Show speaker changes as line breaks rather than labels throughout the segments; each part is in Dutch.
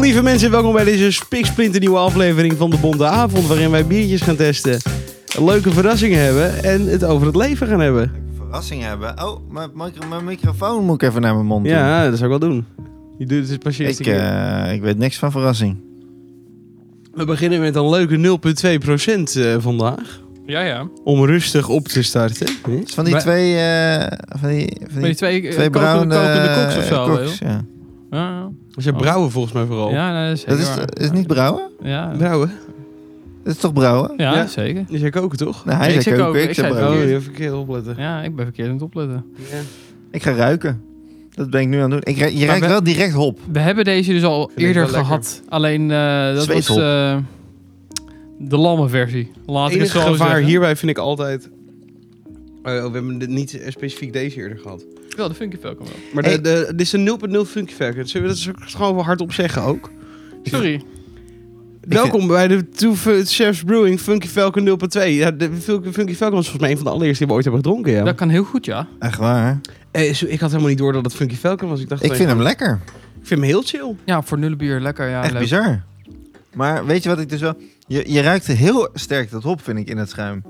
Lieve mensen, welkom bij deze spiksplinternieuwe aflevering van de Bonte Avond, waarin wij biertjes gaan testen, leuke verrassingen hebben en het over het leven gaan hebben.
Verrassing hebben. Oh, mijn, micro- mijn microfoon moet ik even naar mijn mond doen.
Ja, dat zou ik wel doen. Je doet het pas je eerste
Ik,
keer.
eh, ik weet niks van verrassing.
We beginnen met een leuke 0,2% eh, vandaag,
Ja, ja.
om rustig op te starten. Hm?
Het is van die
Maar-
twee... eh, van die, van
Met
die
die twee, eh,
twee
kokende-
bruine...
kokende koks of
eh,
zo.
koks,
joh.
ja.
Ja,
Dat zijn
Oh.
brouwen volgens mij vooral.
ja nee, dat is
Dat
zeker
is,
waar.
is niet brouwen?
Ja,
Brouwen?
Dat is toch brouwen?
ja,
Ja.
zeker.
Die zei koken toch?
Nou, hij
Nee, ik
zei
zeg
ook,
ook,
ik
ik
zei
zei
Oh,
brouwen.
ook.
je hebt Oh, verkeerd opletten.
Ja, ik ben verkeerd aan het opletten.
Ja.
Ik ga ruiken. Dat ben ik nu aan het doen. Ik, ruik- je ruikt
we-
wel direct hop.
We hebben deze dus al
ik
eerder
wel lekker.
gehad. Alleen eh, dat was
Zweethop.
eh, de lamme versie. Laat ik
Het
het
enige
zo
gevaar
zeggen.
hierbij vind ik altijd... Oh, we hebben dit niet eh, specifiek deze eerder gehad.
Wel, de Funky Falcon wel.
Maar de,
Hey.
de, dit is een 0.0 Funky Factor. Zullen we dat zo- gewoon wel hardop zeggen ook?
Sorry.
Welkom bij de Two Fu- Chefs Brewing Funky Falcon 0.2. Ja, de Funky, Funky Falcon was volgens mij een van de allereerste die we ooit hebben gedronken. Ja.
Dat kan heel goed, ja.
Echt waar.
Eh, zo- ik had helemaal niet door dat het Funky Falcon was. Ik, dacht
Ik
alleen-
vind hem lekker.
ik vind hem heel chill.
Ja, voor nullen bier lekker. Ja,
Echt
Ah, leuk.
bizar. Maar weet je wat ik dus wel... Je, je ruikt heel sterk dat hop, vind ik, in het schuim.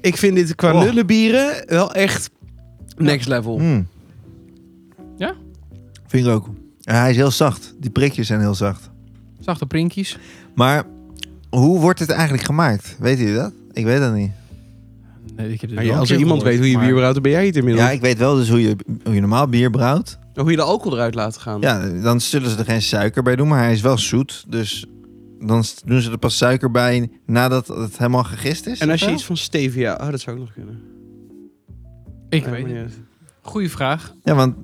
Ik vind dit qua
Oh.
nullenbieren wel echt next level.
Mm.
Ja?
Vind ik ook. Ja, hij is heel zacht. Die prikjes zijn heel zacht.
Zachte prinkjes.
Maar hoe wordt het eigenlijk gemaakt? Weet jullie dat? Ik weet dat niet.
Nee, ik heb dit
Nou ja,
wel
als
een
er
keer
iemand weet hoe je
gehoord,
bier brouwt, dan ben jij het inmiddels.
Ja, ik weet wel dus hoe je, hoe je normaal bier brouwt.
Hoe je de alcohol eruit laat gaan.
Ja, dan zullen ze er geen suiker bij doen, maar hij is wel zoet. Dus dan s- doen ze er pas suiker bij nadat het helemaal gegist is.
En als je
ofzo?
iets van stevia... Oh, dat zou ook nog kunnen.
maar- Ik
Ja,
weet
maar
het.
niet uit.
Goeie vraag.
Ja, want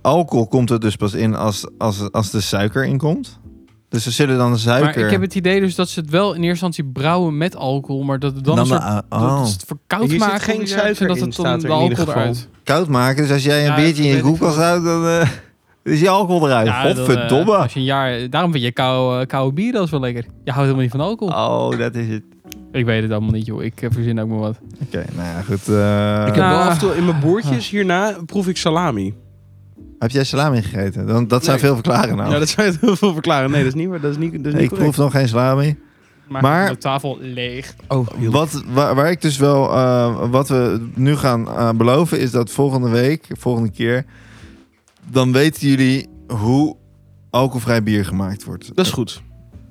alcohol komt er dus pas in als, als, als de suiker in komt. Dus ze zullen dan de suiker...
Maar ik heb het idee dus dat ze het wel in eerste instantie brouwen met alcohol. Maar dat het dan, een soort
de-
Dat
oh.
is het verkoud
Hier zit
maken.
geen
hoe je
suiker
zegt, en dat
in,
het dan
staat er
de
in ieder
alcohol
geval.
eruit.
koud maken. Dus als jij een
Ja,
biertje in je
dat weet ik
koelkast
wel.
houdt, dan eh, is die alcohol eruit.
Ja, dan, eh,
Godverdomme.
als je een jaar, daarom vind je koude, koude bier dat is wel lekker. Je houdt helemaal niet van alcohol.
oh, dat is het.
Ah.
Ik weet het allemaal niet, joh. Ik eh, verzin ook maar wat.
Oké, nou ja, goed. eh,
Ik heb wel
Nou.
af en toe in mijn boertjes hierna proef ik salami.
Heb jij salami gegeten? Dan, dat zou
Nee.
veel verklaren nou.
Ja, dat zou je heel veel verklaren. Nee, dat is niet waar. Dat is niet, dat is niet
ik
correct.
proef nog geen salami. Maar-
de tafel leeg.
Oh, heel
Wat, waar, waar ik dus wel, eh, wat we nu gaan eh, beloven, is dat volgende week, volgende keer, dan weten jullie hoe alcoholvrij bier gemaakt wordt.
Dat is goed.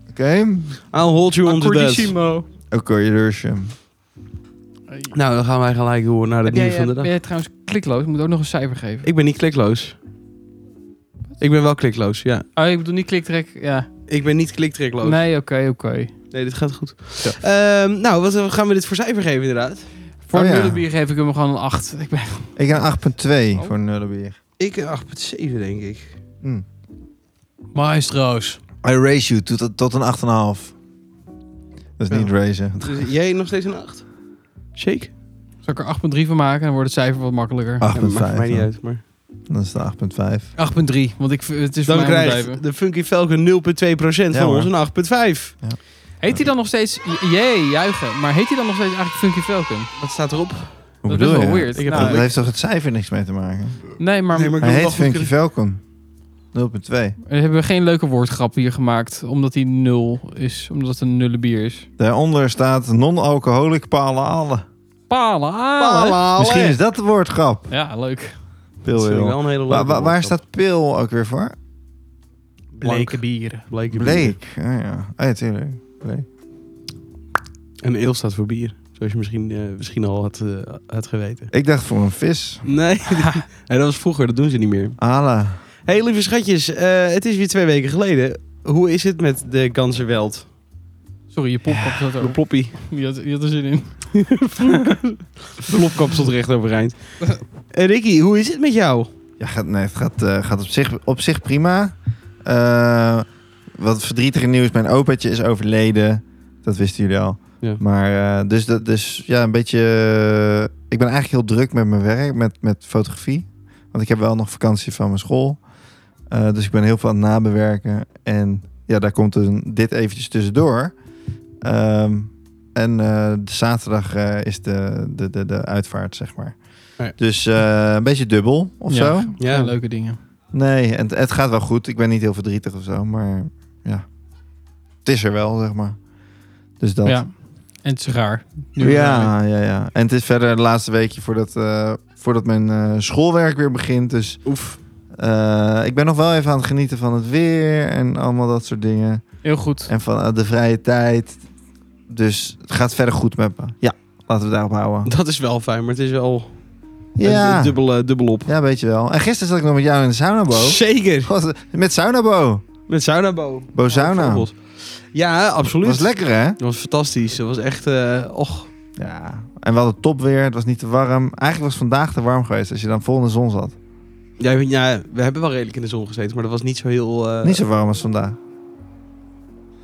Oké?
I'll hold you on to that.
Accordissimo.
Oké, Jurusje.
Hey.
Nou, dan gaan wij gelijk door naar het
Heb jij,
nieuws
eh,
van de
ben
dag.
jij trouwens klikloos? Ik moet ook nog een cijfer geven.
Ik ben niet klikloos. Ik ben wel klikloos, ja.
Oh, ik bedoel niet kliktrek. Ja.
Ik ben niet kliktrekloos. Nee.
Nee, oké, oké.
dit gaat goed. Ehm, nou, wat eh, gaan we dit voor cijfer geven inderdaad?
Voor
Oh,
een
ja.
nullenbier geef ik hem gewoon een 8. Ik ben...
Ik een 8.2
Oh.
voor nullenbier.
Ik een 8,7 denk ik.
Hm.
Maestro's.
I raise you tot, tot een 8,5. Dat is niet raisen.
Dus jij nog steeds een 8? Shake?
Zal ik er 8,3 van maken? Dan wordt het cijfer wat makkelijker.
Ah.
Ja, dat maakt mij niet
8,5.
uit, maar...
Dat is de 8,5.
8,3. Want ik, v- het is Dus voor
Dan
mij een
krijgt
bedrijven.
de Funky Falcon 0,2% van
Ja, hoor.
ons een 8,5.
Heet hij dan nog steeds... Jee, juichen. Maar heet hij dan nog steeds eigenlijk Funky Falcon?
Wat staat erop?
Hoe
dat is
bedoel
wel
je?
weird.
Ik heb
Nou,
dat
ik-
heeft toch het cijfer niks mee te maken?
nee, maar,
Nee, maar ik
Hij
wil
heet
wel goed
Funky
kunnen-
Falcon. 0.2.
we hebben geen leuke woordgrap hier gemaakt. Omdat die nul is. Omdat het een nulle bier is.
Daaronder staat non-alcoholic palale.
Palen,
Palen. Palen.
halen.
Misschien is dat de woordgrap.
Ja, leuk.
Dat
Pil
vind ik
wil.
wel een hele leuke
Waar, waar, waar
woordgrap.
staat pil ook weer voor?
Bleke
bieren.
Bleke bier.
Bleek. Ah ja, ah, ja tuurlijk. Bleek.
En eel staat voor bier. Zoals je misschien, eh, misschien al had, eh, had geweten.
Ik dacht voor een vis.
Nee, dat was vroeger. Dat doen ze niet meer.
Ala.
hey, lieve schatjes. eh, het is weer twee weken geleden. Hoe is het met de ganse weld?
Sorry, je popkap zat
De
er.
ploppie.
Die had, die had er zin in.
De plopkap stond recht overeind. Eh, Ricky, hoe is het met jou?
Ja, gaat, nee, het gaat, eh, gaat op, zich, op zich prima. Eh, wat verdrietige nieuws. Mijn opaatje is overleden. Dat wisten jullie al.
Ja.
Maar eh, dus, dat, dus ja, een beetje... eh, ik ben eigenlijk heel druk met mijn werk, met, met fotografie. Want ik heb wel nog vakantie van mijn school. Eh, dus ik ben heel veel aan het nabewerken. En ja, daar komt dus een, dit eventjes tussendoor. Ehm, en eh, de zaterdag eh, is de, de, de, de uitvaart, zeg maar.
Ja.
Dus eh, een beetje dubbel of
Ja.
zo.
Ja, leuke dingen.
Nee, en het, het gaat wel goed. Ik ben niet heel verdrietig of zo, maar ja. Het is er wel, zeg maar. Dus dat.
Ja. En het is raar. Nu-
ja, ja, ja. En het is verder het laatste weekje voordat, eh, voordat mijn eh, schoolwerk weer begint. Dus
Oef.
eh, ik ben nog wel even aan het genieten van het weer en allemaal dat soort dingen.
Heel goed.
En van eh, de vrije tijd. Dus het gaat verder goed met me. Ja, laten we daarop houden.
Dat is wel fijn, maar het is wel
Ja,
een dubbel, eh, dubbel op.
ja weet je wel. En gisteren zat ik nog met jou in de saunabo.
Zeker.
Wat- Met saunabo.
Met saunabo.
Bo sauna.
Bijvoorbeeld. Ja, absoluut.
was lekker, hè?
Dat was fantastisch. Dat was echt, eh och.
Ja. En we hadden top weer. Het was niet te warm. Eigenlijk was het vandaag te warm geweest als je dan vol in de zon zat.
Ja, ik weet- ja, we hebben wel redelijk in de zon gezeten, maar dat was niet zo heel... eh,
niet zo warm als vandaag.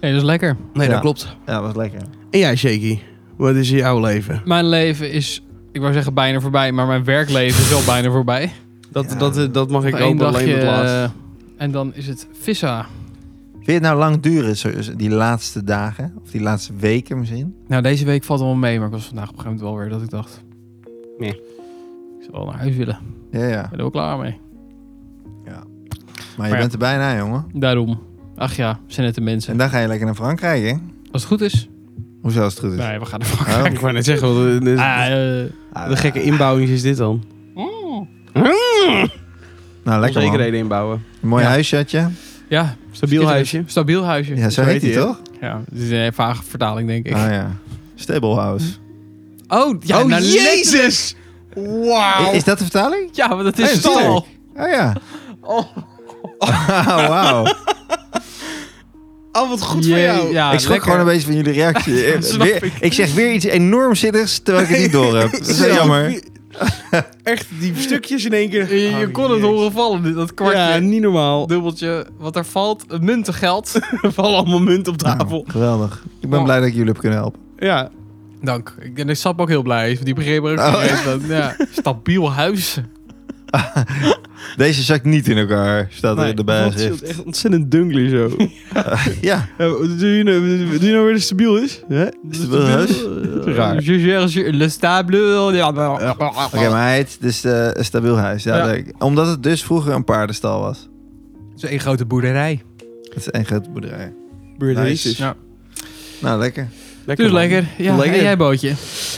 Nee, dat is lekker.
Nee, dat
Ja.
klopt.
Ja, dat was lekker.
En jij, Shaky, wat is jouw leven?
Mijn leven is, ik wou zeggen bijna voorbij, maar mijn werkleven is wel bijna voorbij.
Dat,
Ja.
dat, eh, dat mag ik
Nog één
ook alleen het laatst.
eh, en dan is het vissa.
Vind je het nou lang duren, zo- die laatste dagen? Of die laatste weken misschien?
Nou, deze week valt allemaal mee, maar ik was vandaag op een gegeven moment wel weer dat ik dacht...
Nee.
Ik zou wel naar huis willen. Ik
Ja, ja.
ben er wel klaar mee.
Maar je
ja.
bent er bijna, jongen.
Daarom. Ach ja, we zijn net de mensen.
En dan ga je lekker naar Frankrijk, hè?
Als het goed is...
Hoezo als het goed is? Oh, nou,
Nee, we gaan ervan kijken.
Ik wou net zeggen, wat, eh, de,
eh, Ah, eh,
Ah,
de gekke inbouwing is dit dan.
Nou, lekker man.
Onzekerheden inbouwen.
Een mooi
Ja.
huisje had je.
ja.
Stabiel huisje.
Stabiel huisje.
Ja, zo
heet
heet hij
hij, hè?
toch?
Ja, dit is een vage vertaling, denk ik.
Ah ja. Stable House.
Oh, ja,
oh,
nou,
jezus! Wauw!
I- Is dat de vertaling?
Ja, want het
Nee,
is
dat is
stal.
Oh ja.
Oh.
Ah, Wauw.
Oh, wat goed
Jee,
voor jou.
Ja,
ik schrok
lekker.
gewoon een beetje van jullie reactie.
snap
Weer-
ik.
ik zeg weer iets enorm zinnigs terwijl ik het niet door heb. Dat is wel jammer.
Echt die stukjes in één keer.
Je, je
Oh,
kon het
jezus.
horen vallen, dit- dat kwartje.
Ja, niet normaal.
Dubbeltje, wat er valt, het muntengeld.
Er vallen allemaal munt op tafel.
Nou, geweldig. Ik ben
Oh.
blij dat ik jullie heb kunnen helpen.
Ja.
Dank. Ik en ik snap ook heel blij, is, want die begreep er ook
Oh.
niet eens van. ja. Stabiel huis.
Deze zak niet in elkaar, staat er in de
dat is
bijschrift.
echt ontzettend dunkly zo.
Ja,
Eh, Doe je nou doe je nou weer dat het stabiel is? Hè?
Stabiel huis?
Eh, Raar.
Je gère le stable. Ja, maar-
oké, maar het is dus eh, een stabiel huis. Ja,
Ja.
leuk. Omdat het dus vroeger een paardenstal was.
Het is één grote boerderij.
Het is één grote boerderij.
Beurtjes.
Nice.
Ja.
Nou, lekker.
Lekker,
Dus
man.
lekker. Ja,
Lekker.
En jij bootje?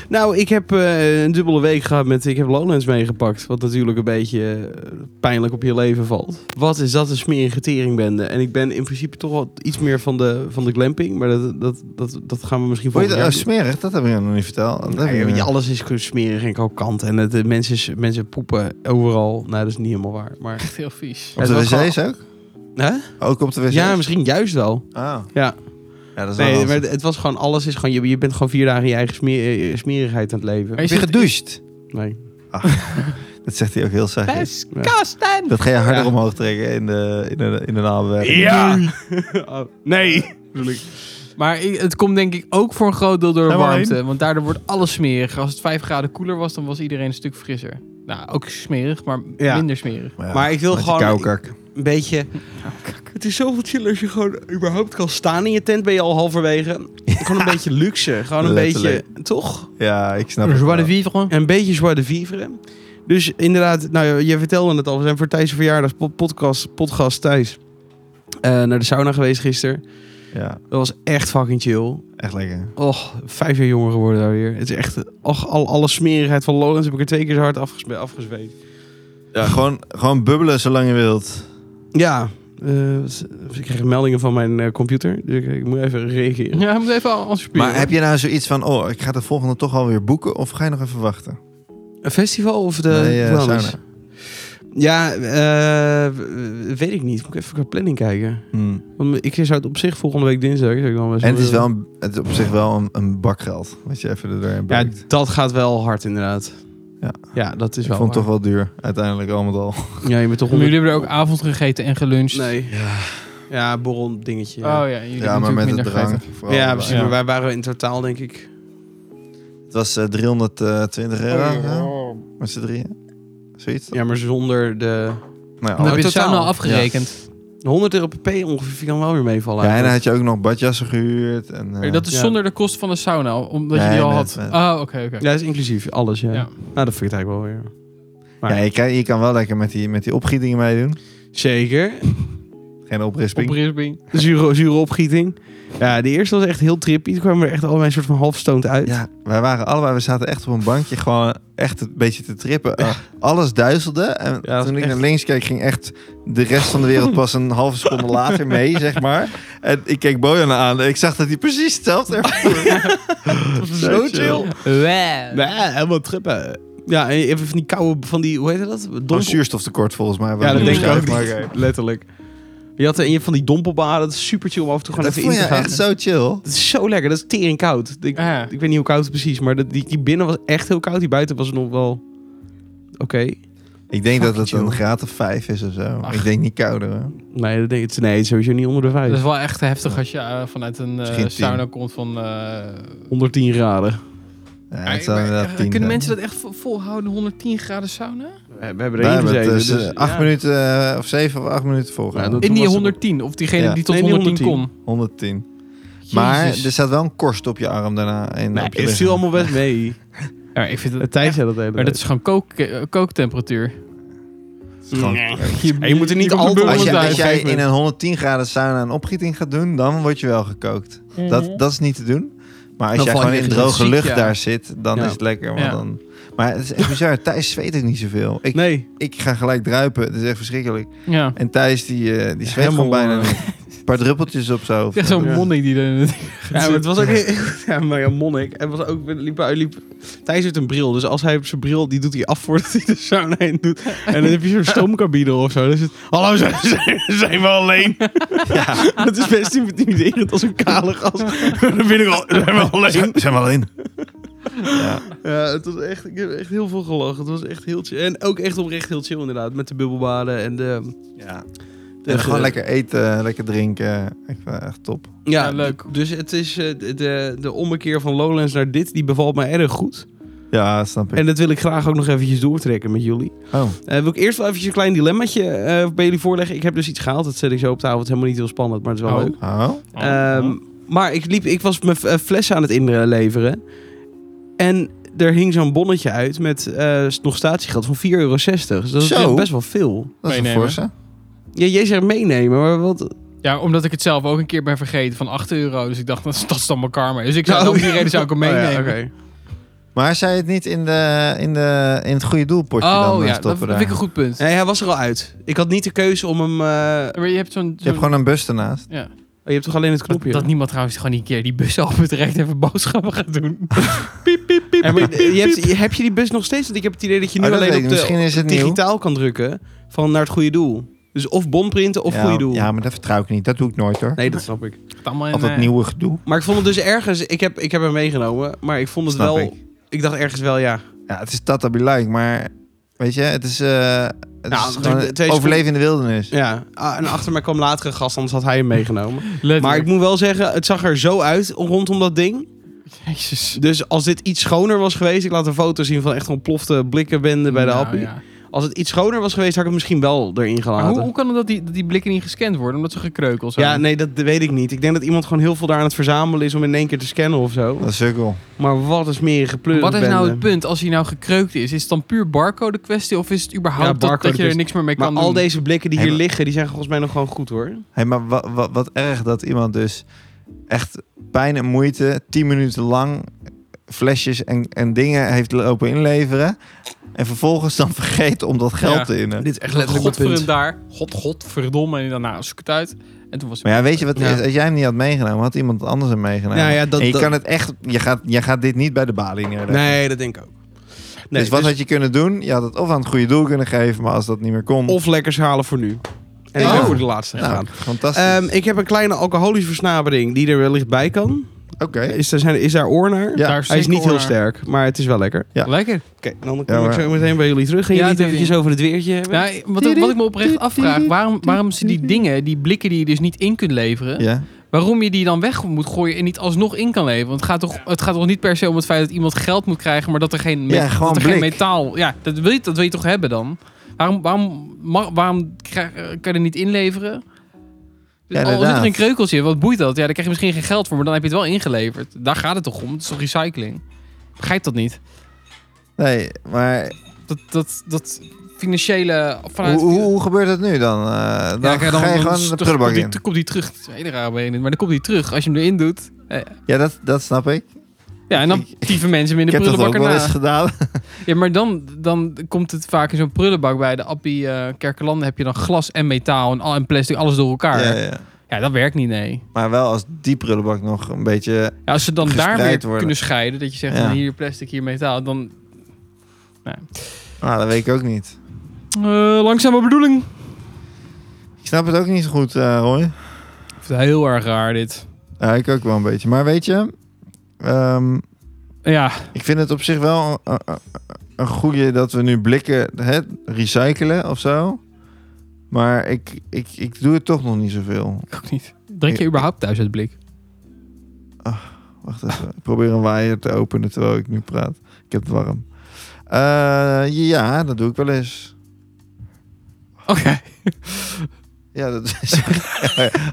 Nou, ik heb eh, een dubbele week gehad met... Ik heb Lowlands meegepakt. Wat natuurlijk een beetje eh, pijnlijk op je leven valt. Wat is dat een smerige teringbende? En ik ben in principe toch wel iets meer van de, van de glamping. Maar dat, dat, dat, dat gaan we misschien
Vond je
volgend
het
jaar...
oh, smerig? Dat Ah, heb ik nog niet verteld. Dat heb
Nee,
ik
weet je,
niet.
alles is smerig en krokant. En het, de mensen, mensen poepen overal. Nou, dat is niet helemaal waar. Maar,
Echt heel vies.
Op de
Het was
wc's ook?
hè?
Ook op de wc's?
Ja, misschien juist wel.
Oh.
Ja.
Ja, dat is wel
Nee,
lastig.
maar het was gewoon... Alles is gewoon... Je, je bent gewoon vier dagen je eigen smeer- eh, smerigheid aan het leven.
Heb je gedoucht?
Nee.
Dat zegt hij ook heel zachtjes.
Disgusting.
Dat ga je harder
Ja.
omhoog trekken in de, in de, in de naamwerking.
Ja! Oh, nee!
Maar ik- het komt denk ik ook voor een groot deel door de
Helemaal
warmte. Want daardoor wordt alles smerig. Als het 5 graden koeler was, dan was iedereen een stuk frisser. Nou, ook smerig, maar
Ja.
minder smerig.
Maar, ja,
Maar ik wil
met die
gewoon-
Koukak.
Een beetje... Het is zoveel chill als je gewoon überhaupt kan staan in je tent. Ben je al halverwege. Gewoon een beetje luxe. Gewoon een beetje...
Letterlijk.
Toch?
Ja, ik snap het
Joie de
wel.
vivre.
Een beetje joie de vivre. Dus inderdaad, nou, je- je vertelde het al. We zijn voor Thijs' verjaardag podcast, podcast Thijs eh, naar de sauna geweest gisteren.
Ja,
Dat was echt fucking chill.
echt lekker.
Och, vijf jaar jonger geworden daar weer. Het is echt... Och, al, alle smerigheid van Lowlands heb ik er twee keer zo hard afgespe- afgezweet.
Ja, gewoon, gewoon bubbelen zolang je wilt.
Ja, eh, ik kreeg meldingen van mijn eh, computer. Dus ik, ik moet even reageren.
Ja, hij moet even al- anticiperen.
Maar heb je nou zoiets van, oh, ik ga de volgende toch alweer boeken? Of ga je nog even wachten?
Een festival of de
Nee, eh,
iets anders?
sauna.
Ja, eh, weet ik niet. Moet ik even qua planning kijken.
Hm.
Want ik zou het op zich volgende week dinsdag. zou ik dan best
En het is, wel een- het is op zich wel een, een bak geld. Wat je even er doorheen
Ja,
brengt.
dat gaat wel hard inderdaad.
Ja.
ja dat is
ik
wel.
vond het toch
waar.
wel duur, uiteindelijk allemaal al.
Ja, je bent toch
Maar
onder...
jullie hebben er ook avond gegeten en geluncht.
Nee. Ja, ja borrel dingetje.
Oh ja, jullie hebben
Ja, maar
natuurlijk
met het
minder
drang.
gegeten.
vooral.
ja, precies.
ja.
Maar wij waren in totaal denk ik...
Het was eh, 320 euro ja,
Oh.
met z'n drieën. Zoiets.
Ja, maar zonder de...
Nou, ja,
Dan heb je Oh, de
totaal.
sauna al afgerekend.
100 euro per p ongeveer kan wel weer meevallen.
ja, en dan
eigenlijk.
had je ook nog badjassen gehuurd. En, eh,
Dat is
Ja.
zonder de kost van de sauna, omdat je
Nee,
die al
met-
had.
met-
Ah, oké, oké.
ja, dat is inclusief. Alles, ja.
Ja.
Nou, dat vind ik het eigenlijk wel weer...
ja, je, kan, je kan wel lekker met die, met die opgietingen meedoen.
Zeker.
Geen
Op
oprisping.
Brisbane.
Zure, zure opgieting. Ja, de eerste was echt heel trippy. Toen kwamen er echt allemaal een soort van halfstoned uit.
Ja, wij waren allebei, we zaten echt op een bankje gewoon echt een beetje te trippen. Uh, alles duizelde en
Ja, dat
toen ik
is echt-
naar links keek ging echt de rest van de wereld pas een halve seconde later mee, zeg maar. En ik keek Bojan aan en ik zag dat hij precies hetzelfde ervoor.
Zo chill.
Wow.
Nee, helemaal trippen. Ja, en even van die koude, van die, hoe heet dat?
Door
Dompel.
zuurstoftekort volgens mij.
Ja, dat
Ja,
denk ik
ja,
ook
Maar
niet.
oké.
Letterlijk. Je had en je hebt van die dompelbaden, dat is super chill om af en toe gewoon
Dat
even
vond
in
je
te gaan.
echt zo chill.
Dat is zo lekker, dat is tering koud. Ik,
Ah, Ja.
ik weet niet hoe koud het precies, maar dat, die, die binnen was echt heel koud. Die buiten was nog wel... Oké.
Ik denk dat
Fuck
het een
you.
graad of vijf is of zo.
Ach.
Ik denk niet kouder. Hoor.
Nee, dat denk ik, nee, het is sowieso niet onder de
Dat is
5.
wel echt heftig als je eh, vanuit een eh,
Misschien tien.
sauna komt van... eh,
110 graden.
Ja,
maar-
het zou
maar,
inderdaad
eh,
tien
kunnen
zijn.
mensen dat echt vo- volhouden, 110 graden sauna?
We, we hebben
Wij
er één
hebben het
gezeten.
dus, eh,
dus,
acht
ja.
minuten eh, of zeven of acht minuten volgehouden.
Ja, dat-
In
Toen
die
was er-
110, of diegene
Ja.
die tot
Nee, die dus-
110 kon.
110. Maar
Jezus.
er staat wel een korst op je arm daarna. En
Nee,
op je
het viel
lichaam.
allemaal best mee.
Ja, ik vind het,
Het Thijs
echt-
zei dat de hele
maar dat
tijd.
is gewoon kook, eh, kooktemperatuur.
Het is gewoon-
Nee. Ja, je moet er niet altijd-
altijd
Als,
Op
je,
een
als jij
gegeven
in een 110 graden sauna een opgieting gaat doen, dan word je wel gekookt. Dat, dat is niet te doen. Maar als
Dan
jij
val je
gewoon in
echt
droge
ziek,
lucht
ja.
daar zit, dan
Ja.
is het lekker. want
Ja.
dan, maar het is echt bizar. Thijs zweet ook niet zoveel. Ik,
Nee,
ik ga gelijk druipen. Het is echt verschrikkelijk.
Ja.
En Thijs die, eh, die zweet
Helemaal,
gewoon bijna
eh,
niet. Een paar druppeltjes op zijn hoofd.
Echt zo'n
Ja.
monnik die er...
Ja, maar het was ook ja, maar ja, monnik. En was ook liep, hij liep, Thijs heeft een bril, dus als hij op zijn bril die doet hij af voordat hij de sauna in doet. En dan heb je zo'n stoomcabine of zo. Dus het, hallo, zijn, zijn- zijn we alleen?
Ja.
Dat is best intimiderend als een kale gast. Dan vind ik al, zijn we alleen?
Zijn we al in? Ja.
Ja, het was echt, ik heb echt heel veel gelachen. Het was echt heel chill. En ook echt oprecht heel chill inderdaad, met de bubbelbaden en de...
ja.
de-
En gewoon
de-
lekker eten, lekker drinken. Ik vind het echt top.
Ja,
Ja, leuk.
Dus het is eh, de- de, de ommekeer van Lowlands naar dit, die bevalt mij erg goed.
Ja, snap ik.
En dat wil ik graag ook nog eventjes doortrekken met jullie.
Oh.
Eh, wil ik eerst wel even een klein dilemmaatje eh, bij jullie voorleggen. Ik heb dus iets gehaald, dat zet ik zo op tafel. Het is helemaal niet heel spannend, maar het is wel
Oh.
leuk.
Oh.
Ehm, Maar ik, liep, ik was mijn eh, flessen aan het inleveren. En er hing zo'n bonnetje uit met eh, nog statiegeld van 4,60 euro. Dus dat is
Zo.
echt best wel veel.
Dat is een
Meenemen.
forse.
Ja, jij zegt meenemen, maar wat...
Ja, omdat ik het zelf ook een keer ben vergeten van 8 euro. Dus ik dacht, dat is, dat is dan mijn karma. Dus ik zou dan om die reden zou ik hem
Oh ja,
meenemen.
oké.
Maar zei het niet in, de, in, de, in het goede doelpotje
Oh,
dan eh,
Oh, ja, dat
stoppen
vind ik
daar?
een goed punt.
Nee, hij was er al uit. Ik had niet de keuze om hem... eh,
Maar je hebt zo'n...
Je hebt
zo'n-
gewoon een bus ernaast.
ja.
oh, je hebt toch alleen het
dat,
knopje?
dat niemand trouwens gewoon een keer die bus over terecht even boodschappen gaat doen.
Ja, maar je hebt, je- heb je die bus nog steeds? Want ik heb het idee dat je nu
Oh, dat weet
alleen
ik.
op de,
Misschien is het nieuw.
digitaal kan drukken van naar het goede doel. Dus of bonprinten of
ja,
goede doel.
Ja, maar dat vertrouw ik niet. Dat doe ik nooit hoor.
Nee, dat snap ik.
Het allemaal in,
Altijd
eh,
nieuwe gedoe.
Maar ik vond het dus ergens... Ik heb, ik heb hem meegenomen, maar ik vond het
Snap
wel...
ik.
Ik. dacht ergens wel, ja.
Ja, het is Tata Be Like, maar weet je, het is, eh het
Nou,
is gewoon
de- de- twee
overleven in de wildernis.
ja. Ah, en achter mij kwam later een gast, anders had hij hem meegenomen.
letterlijk.
Maar ik moet wel zeggen, het zag er zo uit rondom dat ding.
Jezus.
Dus als dit iets schoner was geweest... Ik laat een foto zien van echt ontplofte blikkenbende bij de
Nou,
appie.
ja.
Als het iets schoner was geweest, had ik het misschien wel erin
Maar hoe,
gelaten.
hoe kan het dat die, dat die blikken niet gescand worden? Omdat ze gekreukeld zijn?
Ja, nee, dat weet ik niet. Ik denk dat iemand gewoon heel veel daar aan het verzamelen is om in één keer te scannen of zo.
Dat is sukkel.
Maar wat is meer gepleur.
Wat is nou het punt als hij nou gekreukt is? Is het dan puur barcode kwestie of is het
Ja,
überhaupt dat, dat
barcode
je er
is-
niks meer mee
Maar
kan
al
doen?
deze blikken die
Hey,
hier
maar-
liggen, die zijn volgens mij nog gewoon goed hoor.
Hey, maar wat, wat, wat erg dat iemand dus echt pijn en moeite, tien minuten lang flesjes en, en dingen heeft lopen inleveren. En vervolgens dan vergeet om dat geld
Ja.
te innen.
Dit is echt
Godverdomme daar. God, godverdomme. En daarna zoek het uit. En toen was het
Maar ja, weet je wat het
Ja.
is? Als jij hem niet had meegenomen, had iemand anders hem meegenomen.
Nou ja, dat,
en je
dat-
kan het echt... Je gaat, je gaat dit niet bij de balie neerleggen.
Nee, dat denk ik ook. Nee,
dus wat had je kunnen doen? Je had het of aan het goede doel kunnen geven, maar als dat niet meer kon...
Of lekkers halen voor nu. En ik
Oh.
ben voor de laatste
nou,
gegaan.
fantastisch.
Ehm, ik heb een kleine alcoholische versnapering die er wellicht bij kan.
Oké.
Is, er zijn, is daar oor naar?
Ja.
daar
Hij is
zeker
niet heel
naar.
sterk, maar het is wel lekker.
Ja.
Lekker.
Oké, dan
Ja,
kom ik
maar-
zo meteen bij jullie terug. Gaan
Ja,
jullie het
doe je
eventjes over het weertje hebben?
Nou, wat, wat ik me oprecht afvraag, waarom, waarom ze die dingen, die blikken die je dus niet in kunt leveren,
Ja.
waarom je die dan weg moet gooien en niet alsnog in kan leveren? Want het gaat toch, het gaat toch niet per se om het feit dat iemand geld moet krijgen, maar dat er geen, me-
Ja, gewoon
dat er geen
blik.
metaal... Ja, dat wil, je, dat wil je toch hebben dan? Waarom, waarom, ma- waarom krijg- eh, kan je er niet inleveren? Dus
Ja,
Al zit er
inderdaad.
een kreukeltje, wat boeit dat? Ja, daar krijg je misschien geen geld voor, maar dan heb je het wel ingeleverd. Daar gaat het toch om? Het is toch recycling? Begrijp dat niet?
Nee, maar
Dat, dat, dat vind financiële... Vanuit,
Hoe, hoe, hoe gebeurt dat nu dan? Eh, dan,
Ja, kijk,
ga je
dan
gewoon
is-
de
dan
prullenbak
komt die-
in.
Dan komt die terug. Het is een hele rare benen, maar dan komt die terug als je hem erin doet.
Ja, dat, dat snap ik.
Ja, en dan dieven mensen hem in
Ik
de
heb dat
prullenbak
ook wel eens
erna.
gedaan.
Ja, maar dan, dan komt het vaak in zo'n prullenbak bij de Appie eh Kerkelanden. Heb je dan glas en metaal en, al- en plastic, alles door elkaar.
Ja,
Ja,
ja.
dat werkt niet, nee.
Maar wel als die prullenbak nog een beetje...
Ja, als ze dan daar
Gespreid
weer
worden.
kunnen scheiden, dat je zegt
Ja.
van hier plastic, hier metaal, dan
Nou, dat weet ik ook niet.
eh langzame bedoeling.
Ik snap het ook niet zo goed, eh Roy.
Ik vind het heel erg raar dit.
Ja, ik ook wel een beetje. Maar weet je... ehm,
Ja,
ik vind het op zich wel een, een- een goede dat we nu blikken hè, recyclen of zo. Maar ik, ik, ik doe het toch nog niet zoveel.
ik ook niet. Drink je überhaupt thuis uit blik?
Wacht even. Ik probeer een waaier te openen terwijl ik nu praat. Ik heb het warm. Eh, ja, dat doe ik wel eens.
Oké.
Ja, dat is...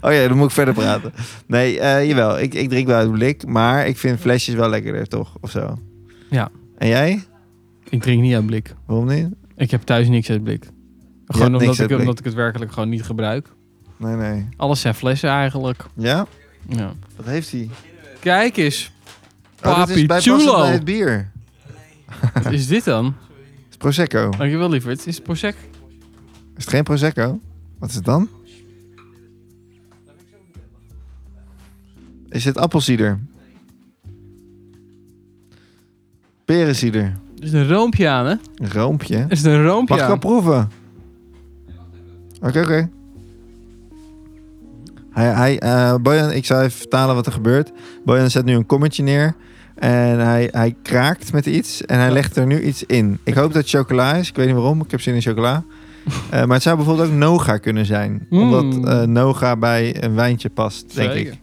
oh ja, dan moet ik verder praten. Nee, eh, jawel. Ik, ik drink wel uit blik. Maar ik vind flesjes wel lekkerder, toch? Of zo.
Ja.
En jij?
Ik drink niet uit blik.
Waarom niet?
Ik heb thuis niks uit blik.
hebt
Gewoon
niks
omdat,
uit
ik,
blik.
omdat ik het werkelijk gewoon niet gebruik.
Nee, nee.
Alles zijn flessen eigenlijk.
Ja?
Ja.
Wat heeft hij?
Kijk eens,
Oh, dat is
Papi
bijpassend
Chulo.
bij het bier.
wat is dit dan?
Het is Prosecco.
Dankjewel lieverd. Is het Prosecco?
Is het geen Prosecco? Wat is het dan? Is het appelsieder? Perensieder.
Er is een roompje aan, hè?
Een Roompje.
Er is een roompje
Mag ik
aan.
wel proeven? Oké, oké. Hij, hij, eh, Bojan, ik zou even vertalen wat er gebeurt. Bojan zet nu een kommetje neer. En hij, hij kraakt met iets. En hij
Ja.
legt er nu iets in. Ik hoop dat het chocola is. Ik weet niet waarom. Ik heb zin in chocola. Eh, maar het zou bijvoorbeeld ook Noga kunnen zijn.
Mm.
Omdat eh Noga bij een wijntje past, denk
Zeker.
ik.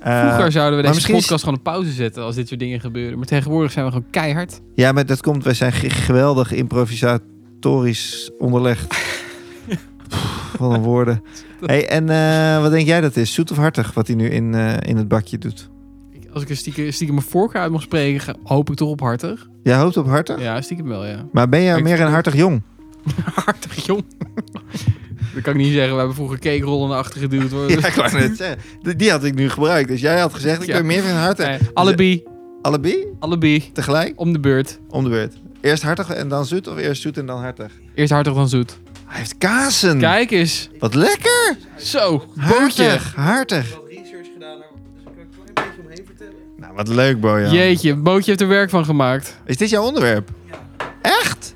Eh,
Vroeger zouden we
maar
deze
misschien is-
podcast gewoon op pauze zetten als dit soort dingen gebeuren. Maar tegenwoordig zijn we gewoon keihard.
Ja, maar dat komt. Wij zijn ge- geweldig improvisatorisch onderlegd. Pff, wat een woorden. Hey, en eh, wat denk jij dat is? Zoet of hartig wat hij nu in, eh, in het bakje doet?
Ik- Als ik er stiekem, stiekem mijn voorkeur uit mag spreken, ga- hoop ik toch op hartig.
Jij hoopt op hartig?
Ja, stiekem wel, ja.
Maar ben jij
Ik-
meer een hartig jong?
Hartig, jong. Dat kan ik niet zeggen. We hebben vroeger cakerollen naar achter geduwd. Hoor. Dus-
ik wou net zeggen. Die- Die had ik nu gebruikt. Dus jij had gezegd, ik
Ja.
ben meer van hartig.
Nee, allebei.
Allebei?
Allebei.
Tegelijk?
Eh, Om de beurt.
Om de beurt. Eerst hartig en dan zoet? Of eerst zoet en dan hartig?
Eerst hartig dan zoet.
Hij heeft kazen.
Kijk eens.
Wat lekker.
Zo. Bootje.
Hartig. Hartig.
wat research gedaan, daar kan ik een klein beetje omheen vertellen.
Nou, wat leuk, Bojan.
Jeetje. Bootje heeft er werk van gemaakt.
Is dit jouw onderwerp? Echt?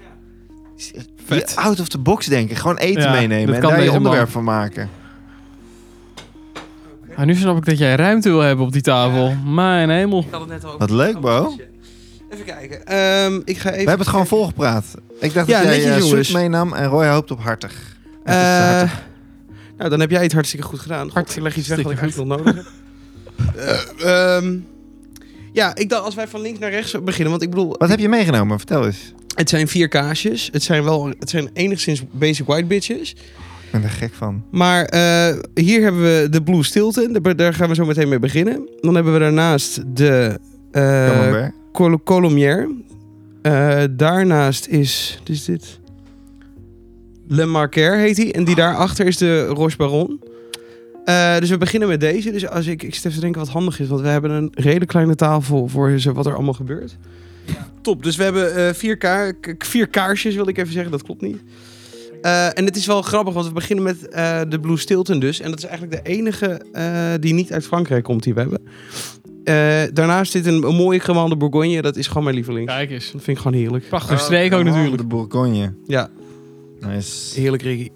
Vet.
Je out of the box denken. Gewoon eten
Ja,
meenemen
dat
en
kan
daar je
deze
onderwerp van maken.
Ah, nu snap ik dat jij ruimte wil hebben op die tafel. Mijn hemel.
Ik had het net al over.
Wat leuk, Bo.
Even kijken. Ehm, ik ga
We
even...
hebben het gewoon volgepraat. Ik dacht
Ja,
dat jij
netjes,
eh,
jongens.
zoet meenam en Roy hoopt op hartig. Het is
Eh,
hartig.
nou, dan heb jij het hartstikke goed gedaan. Hart,
Hartstikke
ik leg iets weg wat ik
goed.
eigenlijk nog nodig heb. Eh, ehm, ja, ik dacht als wij van links naar rechts beginnen. Want ik bedoel,
Wat heb je meegenomen? Vertel eens.
het zijn vier kaasjes. Het zijn, wel, het zijn enigszins basic white bitches.
Ik ben er gek van.
Maar eh, hier hebben we de Blue Stilton. Daar- Daar gaan we zo meteen mee beginnen. Dan hebben we daarnaast de eh,
Camembert.
Col Colomier. Eh, daarnaast is, wat is dit? Le Marquer heet hij. En die daarachter is de Roche Baron. Eh, dus we beginnen met deze. Dus als ik, ik stel te denken wat handig is, want we hebben een redelijk kleine tafel voor ze- wat er allemaal gebeurt. Top, dus we hebben eh, vier, ka- k- vier kaarsjes, wil ik even zeggen, dat klopt niet. Eh, en het is wel grappig, want we beginnen met eh, de Blue Stilton dus. En dat is eigenlijk de enige eh, die niet uit Frankrijk komt die we hebben. Eh, daarnaast zit een, een mooie gewande Bourgogne, dat is gewoon mijn lieveling.
Kijk eens.
Dat vind ik gewoon heerlijk.
Prachtige streek ook natuurlijk.
De Bourgogne.
Ja,
Nice.
heerlijk Ricky.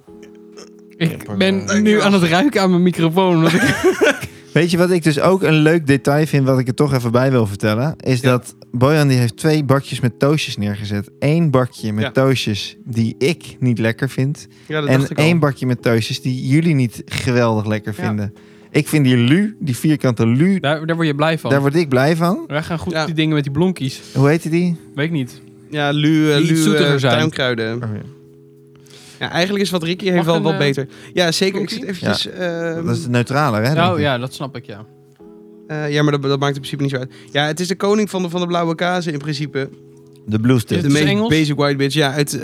Ik ben nu aan het ruiken aan mijn microfoon. omdat ik-
Weet je wat ik dus ook een leuk detail vind, wat ik er toch even bij wil vertellen? Is dat Bojan die heeft twee bakjes met toosjes neergezet. Eén bakje met
Ja.
toosjes die ik niet lekker vind.
Ja, dat dacht
En
ik al.
één bakje met toosjes die jullie niet geweldig lekker
Ja.
vinden. Ik vind die lu, die vierkante lu,
Daar, daar word je blij van.
daar word ik blij van.
Wij gaan goed
Ja.
op die dingen met die blonkies.
Hoe heette die?
Weet ik niet.
Ja, lu, eh,
Die iets
lu eh,
zoetiger zijn.
tuinkruiden. Ja, eigenlijk is wat Ricky heeft
Mag
wel
een,
wat
eh,
beter. Ja, zeker. Ik zit
koekie?
eventjes... ehm,
Dat is de neutraler, hè?
Oh,
denk
Nou
ik.
ja, dat snap ik ja.
Eh, ja, maar dat, dat maakt in principe niet zo uit. Ja, het is de koning van de, van de blauwe kazen in principe.
De Blue
Is
Stick.
De
het
meest
Engels?
basic white bitch, ja, uit eh,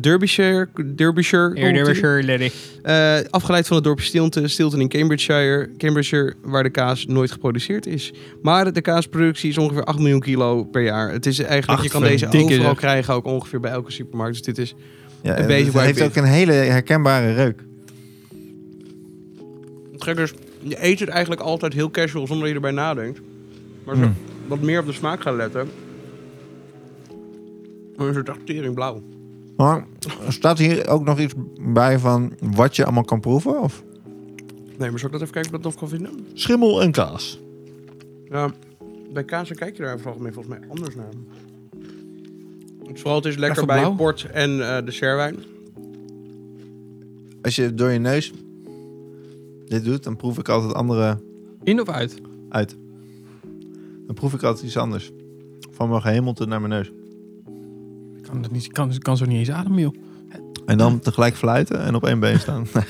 Derbyshire. Derbyshire, komt die.
lady.
Eh, afgeleid van het dorpje Stilton, Stilton in Cambridgeshire, Cambridgeshire, waar de kaas nooit geproduceerd is. Maar de kaasproductie is ongeveer 8 miljoen kilo per jaar. Het is eigenlijk, je
Acht
kan deze
verdikke,
overal
zeg.
krijgen, ook ongeveer bij elke supermarkt. Dus dit is
Ja,
een
en
beetje
het
white
heeft
bitch.
ook een hele herkenbare reuk.
Trekkers, je eet het eigenlijk altijd heel casual zonder dat je erbij nadenkt. Maar als
Mm.
je
Hmm.
wat meer op de smaak gaat letten, dan is het echt tering blauw.
Maar staat hier ook nog iets bij van wat je allemaal kan proeven? Of?
Nee, maar zal ik dat even kijken of ik dat nog kan vinden?
Schimmel en kaas.
Ja, bij kaas kijk je daar vooral mee volgens mij anders naar. Het is Vooral het is lekker
Echt
bij
blauw?
port en eh dessertwijn.
Als je door je neus dit doet, dan proef ik altijd andere
In of uit?
uit. Dan proef ik altijd iets anders. Van mijn gehemelte naar mijn neus.
Ik kan, dat niet, kan, kan zo niet eens ademen, joh.
En dan tegelijk fluiten en op één been staan. Nee.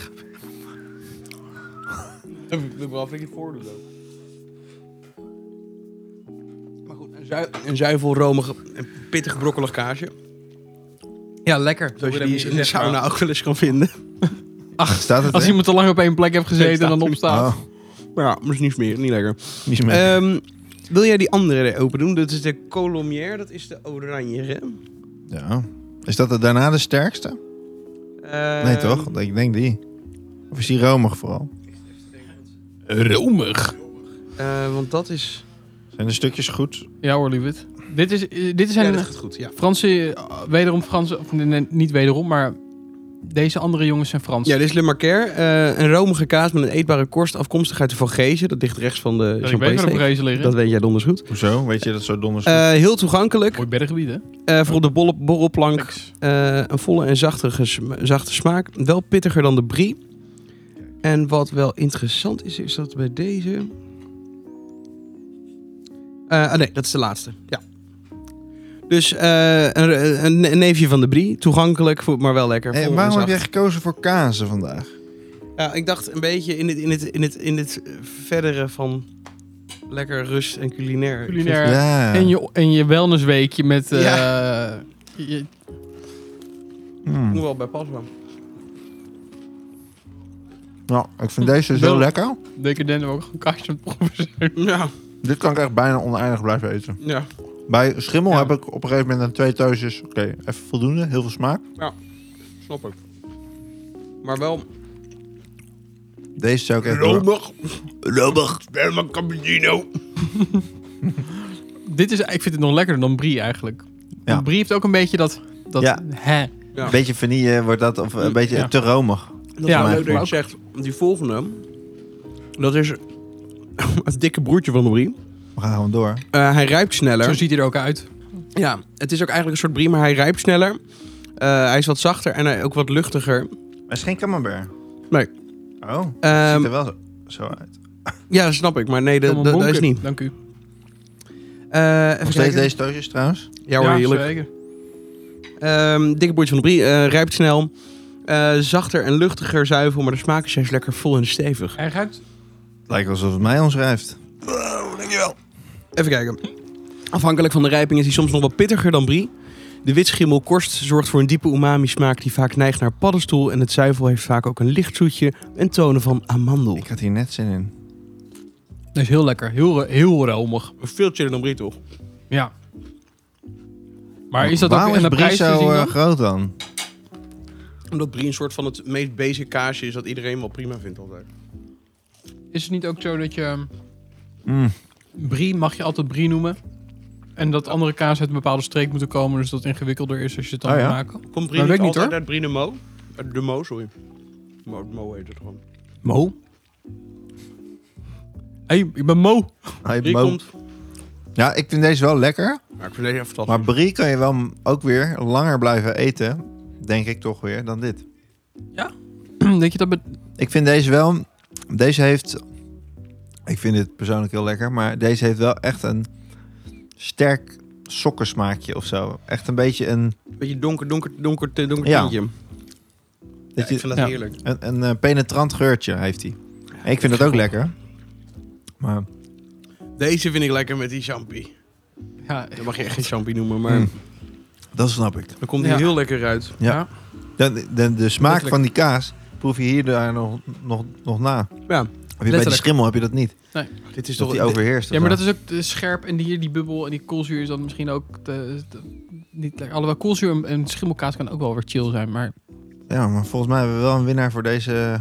Ik ben wel flink voordeel Maar goed, een, zui een zuivel, romig en pittig brokkelig kaasje.
Ja, lekker.
Zoals je die nou? in de sauna ook wel eens kan vinden.
Staat het
Als
er?
iemand te lang op één plek heeft gezeten en
Staat
dan
er.
opstaat.
Oh,
Maar ja, maar is niet meer, niet lekker.
niet meer.
Eh,
Ehm, wil jij die andere er open doen? Dat is de Colomier, dat is de oranje.
ja. Is dat er daarna de sterkste?
Ehm,
Eh,
nee, toch? Ik denk die. Of is die romig vooral?
Ah. Romig.
eh, want dat is...
Zijn de stukjes goed?
Ja hoor, lieverd. Dit, is, eh, dit zijn
Ja, dat is goed, ja.
Franse, eh, wederom Franse, of nee, nee, niet wederom, maar deze andere jongens zijn Frans.
Ja, dit is Le Marcaire. eh, een romige kaas met een eetbare korst afkomstig uit de Valgezen. Dat ligt rechts van de
dat ik weet waar de
Champlain.
prijzen liggen.
Dat weet jij donders goed.
Hoezo? Weet je dat zo donders?
Eh, heel toegankelijk.
Mooi berggebied, hè?
Eh, voor op de bolle- borrelplank
Thanks.
Eh, een volle en zachtige sm- zachte smaak. Wel pittiger dan de brie. En wat wel interessant is, is dat bij deze... Eh, ah nee, dat is de laatste. Ja. Dus eh, een, een, een neefje van de brie. Toegankelijk, voor- maar wel lekker.
Hey,
Vol en
waarom heb
zacht.
jij gekozen voor kazen vandaag?
Ja, ik dacht een beetje in het, in het, in het, in het eh, verdere van lekker rust en culinair. Ik vind-
Culinair.
ja.
Eh, En, je, en je wellnessweekje met... eh, je-
Ik moet
Hmm.
wel bij pas man.
Nou, ik vind deze zo
Wel-
lekker.
decadenten ook een kastje aan het proeven zijn.
Ja,
Dit kan ik echt bijna oneindig blijven eten.
ja.
Bij schimmel
Ja.
heb ik op een gegeven moment een twee teusjes. Oké, even voldoende. Heel veel smaak.
Snap ik. Maar wel
Deze zou ik echt...
Romig. Sperma cappuccino.
Dit is, ik vind het nog lekkerder dan brie eigenlijk.
Ja.
Brie heeft ook een beetje dat... dat
Ja.
hè.
Ja.
Beetje vanille wordt dat, of een beetje
Ja.
te romig.
Dat
Ja,
ja,
maar
leuk dat je
ook.
zegt. Die volgende, dat is het dikke broertje van de brie.
We gaan gewoon door.
Eh, hij rijpt
Zo
sneller.
ziet hij er ook uit.
Ja, het is ook eigenlijk een soort brie, maar hij rijpt sneller. Eh, hij is wat zachter en hij ook wat luchtiger.
Maar het is geen camembert.
Nee.
Oh, het
Ehm,
ziet er wel zo, zo uit.
ja, dat snap ik, maar nee, dat,
Van een
dat- dat is
bonker.
niet.
Dank u.
Eh, even
Nog steeds
kijken.
deze teusjes trouwens.
Ja hoor, heerlijk.
zeker.
Ehm, dikke broertje van de brie, eh, rijpt snel. Eh, zachter en luchtiger zuivel, maar de smaak is juist lekker vol en stevig.
Hij ruikt...
Lijkt alsof het mij omschrijft.
Even kijken. Afhankelijk van de rijping is hij soms nog wat pittiger dan brie. De witschimmelkorst zorgt voor een diepe umami-smaak die vaak neigt naar paddenstoel. En het zuivel heeft vaak ook een licht zoetje en tonen van amandel.
Ik had hier net zin in.
Dat is heel lekker. Heel, ro- heel romig.
Veel chiller dan brie, toch?
Ja. Maar is dat
Waarom
ook in de
is Brie
prijs te
zo
zien
eh,
dan?
groot dan?
Omdat brie een soort van het meest basic kaasje is dat iedereen wel prima vindt altijd.
Is het niet ook zo dat je... ehm,
Mm.
Brie mag je altijd brie noemen. En dat andere kaas uit een bepaalde streek moeten komen. Dus dat het ingewikkelder is als je het dan
Oh
moet
ja.
maken.
Komt brie
Maar
niet
weet ik niet,
altijd
hoor.
uit brie de mo? Uit de mo, sorry. Mo, mo heet het gewoon.
Mo? hey, ik ben Mo.
Hij
Brie
mo-
komt...
Ja, ik vind deze wel lekker.
Ja, ik vind deze even
Maar brie kan je wel m- ook weer langer blijven eten. Denk ik toch weer, dan dit.
Denk je dat... bet-
Ik vind deze wel... Deze heeft... Ik vind dit persoonlijk heel lekker. Maar deze heeft wel echt een sterk sokkersmaakje of zo. Echt een beetje een...
Beetje donker, donker, donker, donker
Ja.
tintje. Ja,
Dat
ik vind
je,
dat
Ja.
heerlijk.
een, een eh, penetrant geurtje heeft hij. Ik vind dat ook lekker. Maar
Deze vind ik lekker met die champie.
Ja,
Dat mag je echt geen champi noemen, maar
Mm. Dat snap ik.
dan komt hij
Ja.
heel lekker uit.
De, de, de smaak
Letterlijk.
van die kaas proef je hier daar nog, nog, nog na.
Ja.
Heb je bij de
Letterlijk.
schimmel heb je dat niet.
Dit is
Dus dat
toch
die overheerst.
ja, maar dat is ook te scherp. En hier die bubbel en die koolzuur is dan misschien ook te- te- niet lekker. Alhoewel koolzuur en, en schimmelkaas kan ook wel weer chill zijn. Maar
ja, maar volgens mij hebben we wel een winnaar voor deze. eh,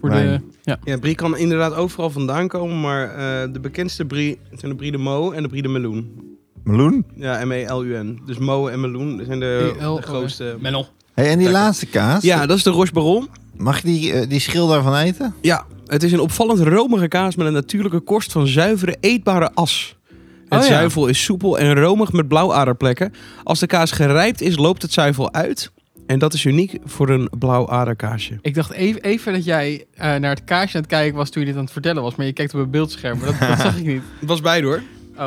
voor
Wijn.
de...
Ja, brie kan inderdaad overal vandaan komen, maar eh, de bekendste brie zijn de brie de mo en de brie de meloen.
Meloen.
Ja, M-E-L-U-N. Dus mo en meloen zijn de,
E-L,
de grootste.
Menno.
Hey, en die
Lekker.
laatste kaas.
Ja, dat is de Roche Baron.
Mag je die, eh, die schil daarvan eten?
Ja, het is een opvallend romige kaas met een natuurlijke korst van zuivere eetbare as. Het
Oh ja.
zuivel is soepel en romig met blauwaderplekken. Als de kaas gerijpt is, loopt het zuivel uit. En dat is uniek voor een blauwaderkaasje.
Ik dacht even, even dat jij eh, naar het kaasje aan het kijken was toen je dit aan het vertellen was. Maar je kijkt op een beeldscherm. Maar dat, dat zag ik niet.
Het was bij hoor.
Oh,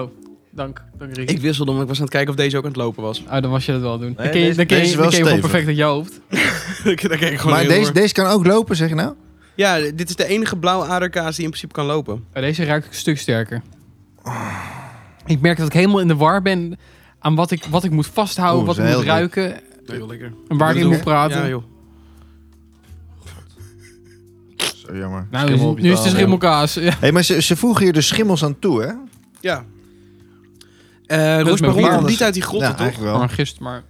dank. Dank, Rick.
Ik wisselde omdat ik was aan het kijken of deze ook aan het lopen was.
Oh, dan was je dat wel aan het
Nee,
doen. dan ken je,
deze-
dan ken je,
deze is
dan
wel
ken je gewoon
stevig.
perfect uit je hoofd.
Daar keek ik gewoon
maar
heel
deze,
door.
deze kan ook lopen, zeg je nou?
Ja, dit is de enige blauwaderkaas die in principe kan lopen.
Oh, deze ruikt een stuk sterker. Ik merk dat ik helemaal in de war ben aan wat ik, wat ik moet vasthouden,
Oeh,
wat
dat
ik
is
moet
heel goed.
ruiken
Heel lekker.
en waar ik in
Doe.
moet praten.
Ja, Ah, joh.
Zo jammer.
nou, nu, is- nu is het schimmelkaas. Ja.
Hé, maar ze, ze voegen hier de schimmels aan toe, hè?
Ja. Eh Roche
met
Baron komt
Baron.
niet uit die grotten,
ja,
toch?
eigenlijk wel.
Maar gist, maar...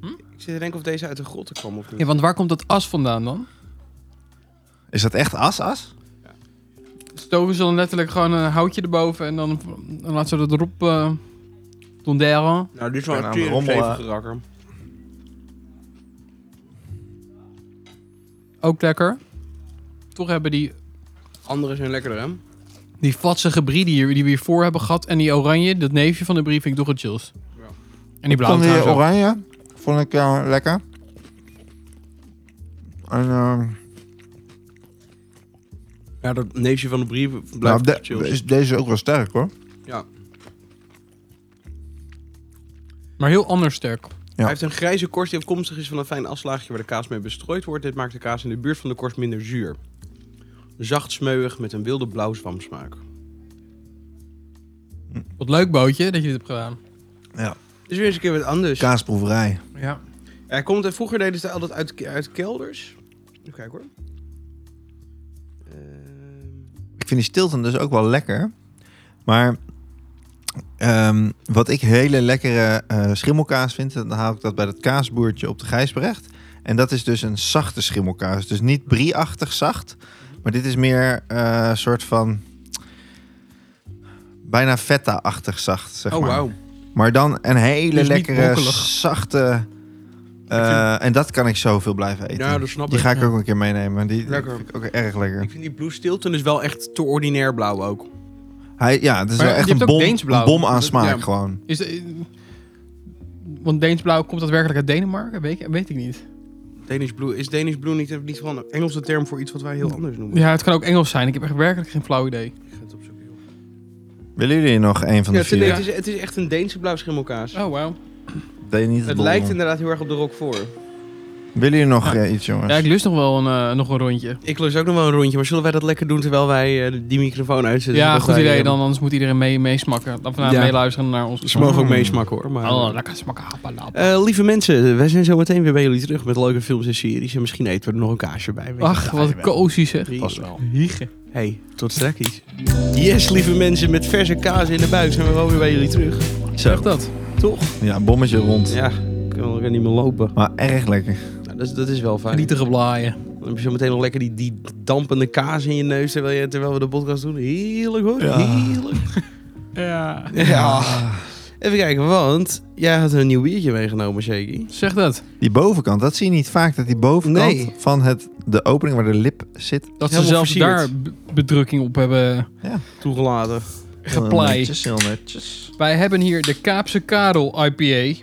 Ik zit te denken of deze uit de grotten kwam of niet.
Ja, want waar komt dat as vandaan dan?
Is dat echt as-as?
Stoven ze dan letterlijk gewoon een houtje erboven en dan, dan laten ze dat erop eh donderen.
Nou, dit is
Bijna
wel een
een rommel,
teringzeven
eh.
gerakker.
Ook lekker. Toch hebben die,
Andere zijn lekkerder, hè?
die vatsige brie die, hier- die we hiervoor hebben gehad en die oranje, dat neefje van de brie vind ik toch het chills.
Ja.
En die blauwe
Dan die
trouwens ook.
oranje. Vond ik eh, lekker. En, ehm,
Ja, dat neefje van de brief
nou,
blijft
de-
chill.
is deze ook wel sterk, hoor.
Ja.
Maar heel anders sterk.
Hij heeft een grijze korst die afkomstig is van een fijn afslaagje waar de kaas mee bestrooid wordt. Dit maakt de kaas in de buurt van de korst minder zuur. Zacht smeuig met een wilde blauw zwamsmaak.
Wat leuk bootje dat je dit hebt gedaan.
Dus weer eens een keer wat anders.
Kaasproeverij.
Ja.
Hij komt, vroeger deden ze het altijd uit, uit kelders. Even kijken hoor. Ehm,
Ik vind die Stilton dus ook wel lekker. Maar ehm, wat ik hele lekkere eh, schimmelkaas vind, dan haal ik dat bij dat kaasboertje op de Gijsbrecht. En dat is dus een zachte schimmelkaas. Dus niet brie-achtig zacht, maar dit is meer een soort van bijna feta-achtig zacht, zeg
oh,
maar.
wauw.
Maar dan een hele
Dus niet
lekkere,
brokkelig.
zachte... eh, en dat kan ik zoveel blijven eten.
Ja, dat snap
Die
ik.
ga ik
ja.
ook een keer meenemen. Die
Lekker.
vind ik ook erg lekker.
Ik vind die Blue Stilton dus wel echt te ordinair blauw ook.
Hij, ja, het is
Maar
wel
je
echt
hebt
een
ook
bom,
Deensblauw.
een bom aan
Dat-
smaak
ja.
gewoon.
Is want Deens blauw komt daadwerkelijk uit Denemarken? Weet, ik- weet ik niet.
Danish Blue. Is Danish Blue niet, niet gewoon een Engelse term voor iets wat wij heel anders noemen?
Ja, het kan ook Engels zijn. Ik heb echt werkelijk geen flauw idee.
Ik ga het opzoeken, joh.
Willen jullie nog een van
Ja,
de
het, is-
vier?
nee, het, is, het is echt een Deense blauw schimmelkaas.
Oh, wauw.
Deed je niet het
het
bol
lijkt
om.
inderdaad heel erg op de Rock 4.
Willen jullie nog eh, iets, jongens?
Ja, ik lust nog wel een, eh, nog een rondje.
Ik lust ook nog wel een rondje, maar zullen wij dat lekker doen terwijl wij eh, die microfoon uitzetten?
ja,
zodat
goed
wij,
idee.
eh,
Dan, anders moet iedereen mee, meesmakken. Dan vanavond
Ja.
meeluisteren naar ons.
Ze mogen ook
Mm.
meesmakken hoor. Maar...
Oh, lekker smakken. happalap.
Eh, lieve mensen, wij zijn zo meteen weer bij jullie terug met leuke films en series. En misschien eten we er nog een kaasje bij. weet
Ach,
je.
wat cozy zeg.
Prima.
Pas wel.
Hiegen.
Hey, tot straks. Yes, lieve mensen, met verse kaas in de buik zijn we wel weer bij jullie terug.
Zeg dat.
Toch?
Ja, een bommetje rond.
Ja, ik kan wel weer niet meer lopen.
Maar erg lekker.
Nou, dat, is, dat is wel fijn.
Nietige blaaien.
Dan heb je zo meteen nog lekker die, die dampende kaas in je neus terwijl, je, terwijl we de podcast doen. Heerlijk hoor,
Ja.
heerlijk.
Ja.
Ja. Even kijken, want jij had een nieuw biertje meegenomen, Shaky.
Zeg dat.
Die bovenkant, dat zie je niet vaak. Dat die bovenkant
Nee.
van het, de opening waar de lip zit...
Dat ze
Helemaal
zelfs
versierd.
daar b- bedrukking op hebben
Toegelaten.
Heel
gepleit.
netjes, heel netjes.
Wij hebben hier de Kaapse Karel IPA.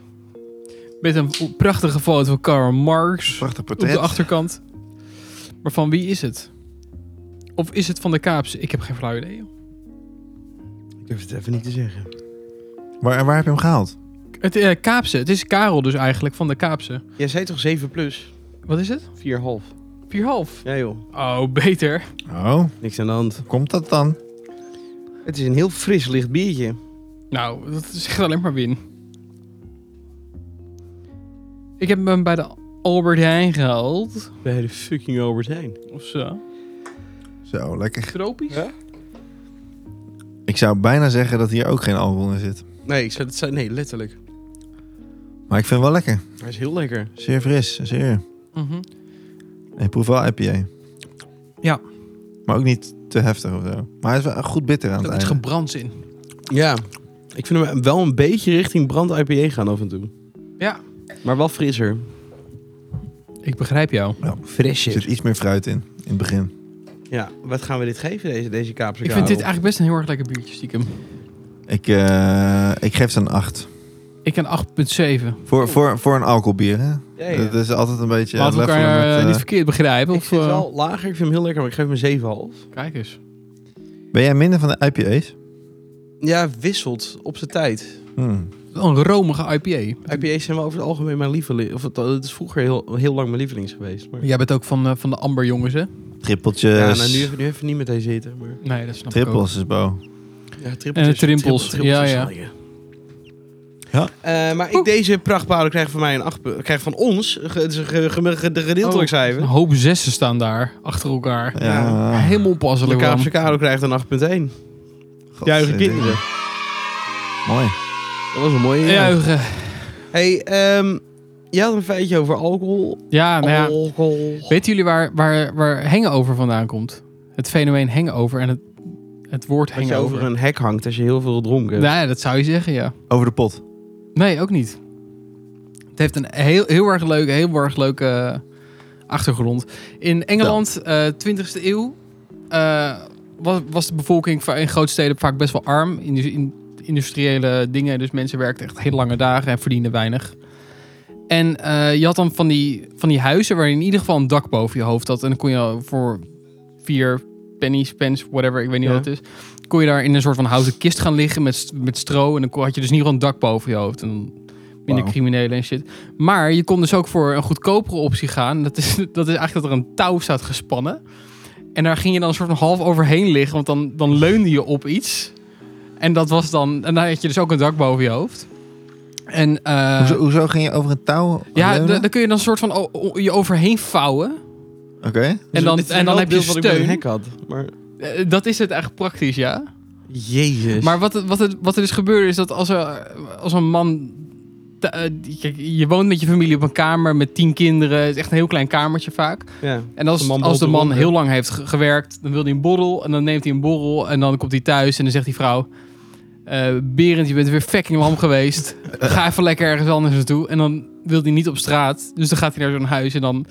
Met een prachtige foto van Karl Marx
Prachtig
op de
portret.
achterkant. Maar van wie is het? Of is het van de Kaapse? Ik heb geen flauw idee. joh.
Ik durf het even niet te zeggen.
Waar, waar heb je hem gehaald?
Het eh, Kaapse. Het is Karel dus eigenlijk van de Kaapse.
Jij zei toch 7 plus?
Wat is het?
4,5.
4,5.
Ja joh,
Oh, beter.
Oh,
niks aan de hand.
komt dat dan?
Het is een heel fris licht biertje.
Nou, dat is echt alleen maar win. Ik heb hem bij de Albert Heijn gehaald.
Bij de fucking Albert Heijn.
Of zo.
Zo, lekker.
Tropisch?
Ja?
Ik zou bijna zeggen dat hier ook geen alcohol in zit.
Nee, ik zei, dat zei, nee, letterlijk.
Maar ik vind het wel lekker.
Hij is heel lekker.
Zeer fris, zeer.
Mhm.
En ik proef wel IPA.
Ja.
Maar ook niet te heftig of zo. Maar hij is wel goed bitter aan het
Er is
einde.
gebrands in.
Ja. Ik vind hem wel een beetje richting brand IPA gaan af en toe.
Ja.
Maar wel frisser.
Ik begrijp jou.
Er
Frisser.
zit iets meer fruit in, in het begin.
Ja, wat gaan we dit geven, deze, deze Kaapse
Ik vind dit
Karel?
eigenlijk best een heel erg lekker biertje, stiekem.
Ik, eh, ik geef ze een 8.
Ik een 8,7.
Voor, voor, voor een alcoholbier, hè?
Ja, ja.
Dat is altijd een beetje...
Laten we
levelen
elkaar
met,
eh,
eh,
niet verkeerd begrijpen.
Ik
Of,
vind het
eh,
wel lager, ik vind hem heel lekker, maar ik geef hem 7,5.
Kijk eens.
Ben jij minder van de IPA's?
Ja, wisselt op zijn tijd.
Hmm.
Wel Een romige IPA.
IPA's zijn wel over het algemeen mijn lieveling. Of het, het is vroeger heel, heel lang mijn lievelings geweest. Maar...
Jij bent ook van, eh, van de Amber jongens, hè?
Trippeltjes.
Ja, nou, nu, even, nu even niet met deze zitten. Maar...
Nee, dat snap ik ook.
Trippels is bo.
Ja, trippeltjes.
En de trimpels. Ja, ja.
zal je.
Ja.
Eh, maar ik, deze prachtbouwer krijgt van mij een 8. Krijgt van ons. ge- Het is een ge- ge- ge- de gedeeltelijk
Oh, Een
cijfer.
hoop zessen staan daar, achter elkaar.
Ja.
Helemaal
De
onpasselijk, man.
Kaapse Karo krijgt een 8.1.
God,
Juichen
eh,
kinderen.
Mooi.
Dat was een mooie. Ja.
Juichen.
Hey, ehm, je had een feitje over alcohol.
Ja, nou ja.
Alcohol.
Weten jullie waar, waar, waar hangover vandaan komt? Het fenomeen hangover en het, het woord
Dat je over
hangover.
een hek hangt als je heel veel dronken hebt.
Nee, dat zou je zeggen, ja.
Over de pot.
Nee, ook niet. Het heeft een heel, heel erg leuke, heel erg leuke eh, achtergrond. In Engeland, eh 20e eeuw, eh, was, was de bevolking va- in grote steden vaak best wel arm. In, in industriële dingen, dus mensen werkten echt heel lange dagen en verdienden weinig. En eh, je had dan van die, van die huizen waar je in ieder geval een dak boven je hoofd had. En dan kon je voor vier pennies, pence, whatever, ik weet niet
Ja.
wat het is. Kon je daar in een soort van houten kist gaan liggen met, st- met stro. En dan kon- had je dus in ieder geval een dak boven je hoofd. En dan minder
Wauw.
criminelen en shit. Maar je kon dus ook voor een goedkopere optie gaan. Dat is, dat is eigenlijk dat er een touw staat gespannen. En daar ging je dan een soort van half overheen liggen. Want dan, dan leunde je op iets. En dat was dan... En dan had je dus ook een dak boven je hoofd. En, eh,
hoezo, hoezo ging je over een touw
ja,
leunen?
da- daar kun je dan een soort van o- o- je overheen vouwen.
Oké.
En dan,
Dit is
en dan
wel
heb je
het beeld wat ik bij
steun.
een hek had. Maar...
Eh, Dat is het echt praktisch, ja.
Jezus.
Maar wat, het- wat, het, wat er dus gebeurde is dat als, er, als een man... te- eh, die- Kijk, je woont met je familie op een kamer met tien kinderen. Het is echt een heel klein kamertje vaak.
ja.
En als,
Als de man
als de
borrelt
man
eronder.
heel lang heeft ge- gewerkt, dan wil hij een borrel. En dan neemt hij een borrel en dan komt hij thuis en dan zegt die vrouw... eh, Berend, je bent weer fucking lam geweest. Ga even lekker ergens anders naartoe. En dan wil hij niet op straat. Dus dan gaat hij naar zo'n huis en dan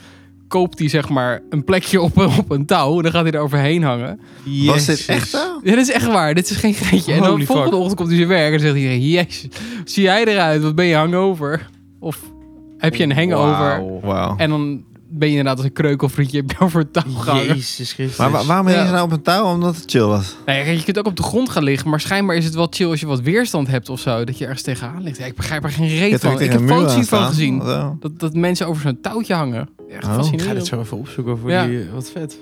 koopt hij zeg maar een plekje op, een- op een touw. En dan gaat hij er overheen hangen.
Was
Jezus.
dit echt touw?
Ja, dit is echt waar. Dit is geen geintje. En dan
Holy
volgende
fuck.
ochtend komt hij zijn werk en zegt hij... Jezus, wat zie jij eruit? Wat ben je hangover? Of heb je een hangover?
Wauw.
Wauw.
En dan ben je inderdaad als een kreukelfrietje over het touw gehangen.
Jezus Christus.
Maar wa- waarom
Ja.
hingen ze nou op een touw? Omdat het chill was.
Nou ja, je kunt ook op de grond gaan liggen, maar schijnbaar is het wel chill als je wat weerstand hebt of zo. Dat je ergens tegenaan ligt. Ja, ik begrijp er geen
Je
reet
hebt er ook
van. Ik
tegen
heb
een muur
foto's
aan
hiervan
staan.
gezien.
Zo.
Dat, dat mensen over zo'n touwtje hangen. Echt
Oh.
Ik ga
fascinerend.
dit zo even opzoeken voor
Ja.
die... Wat vet.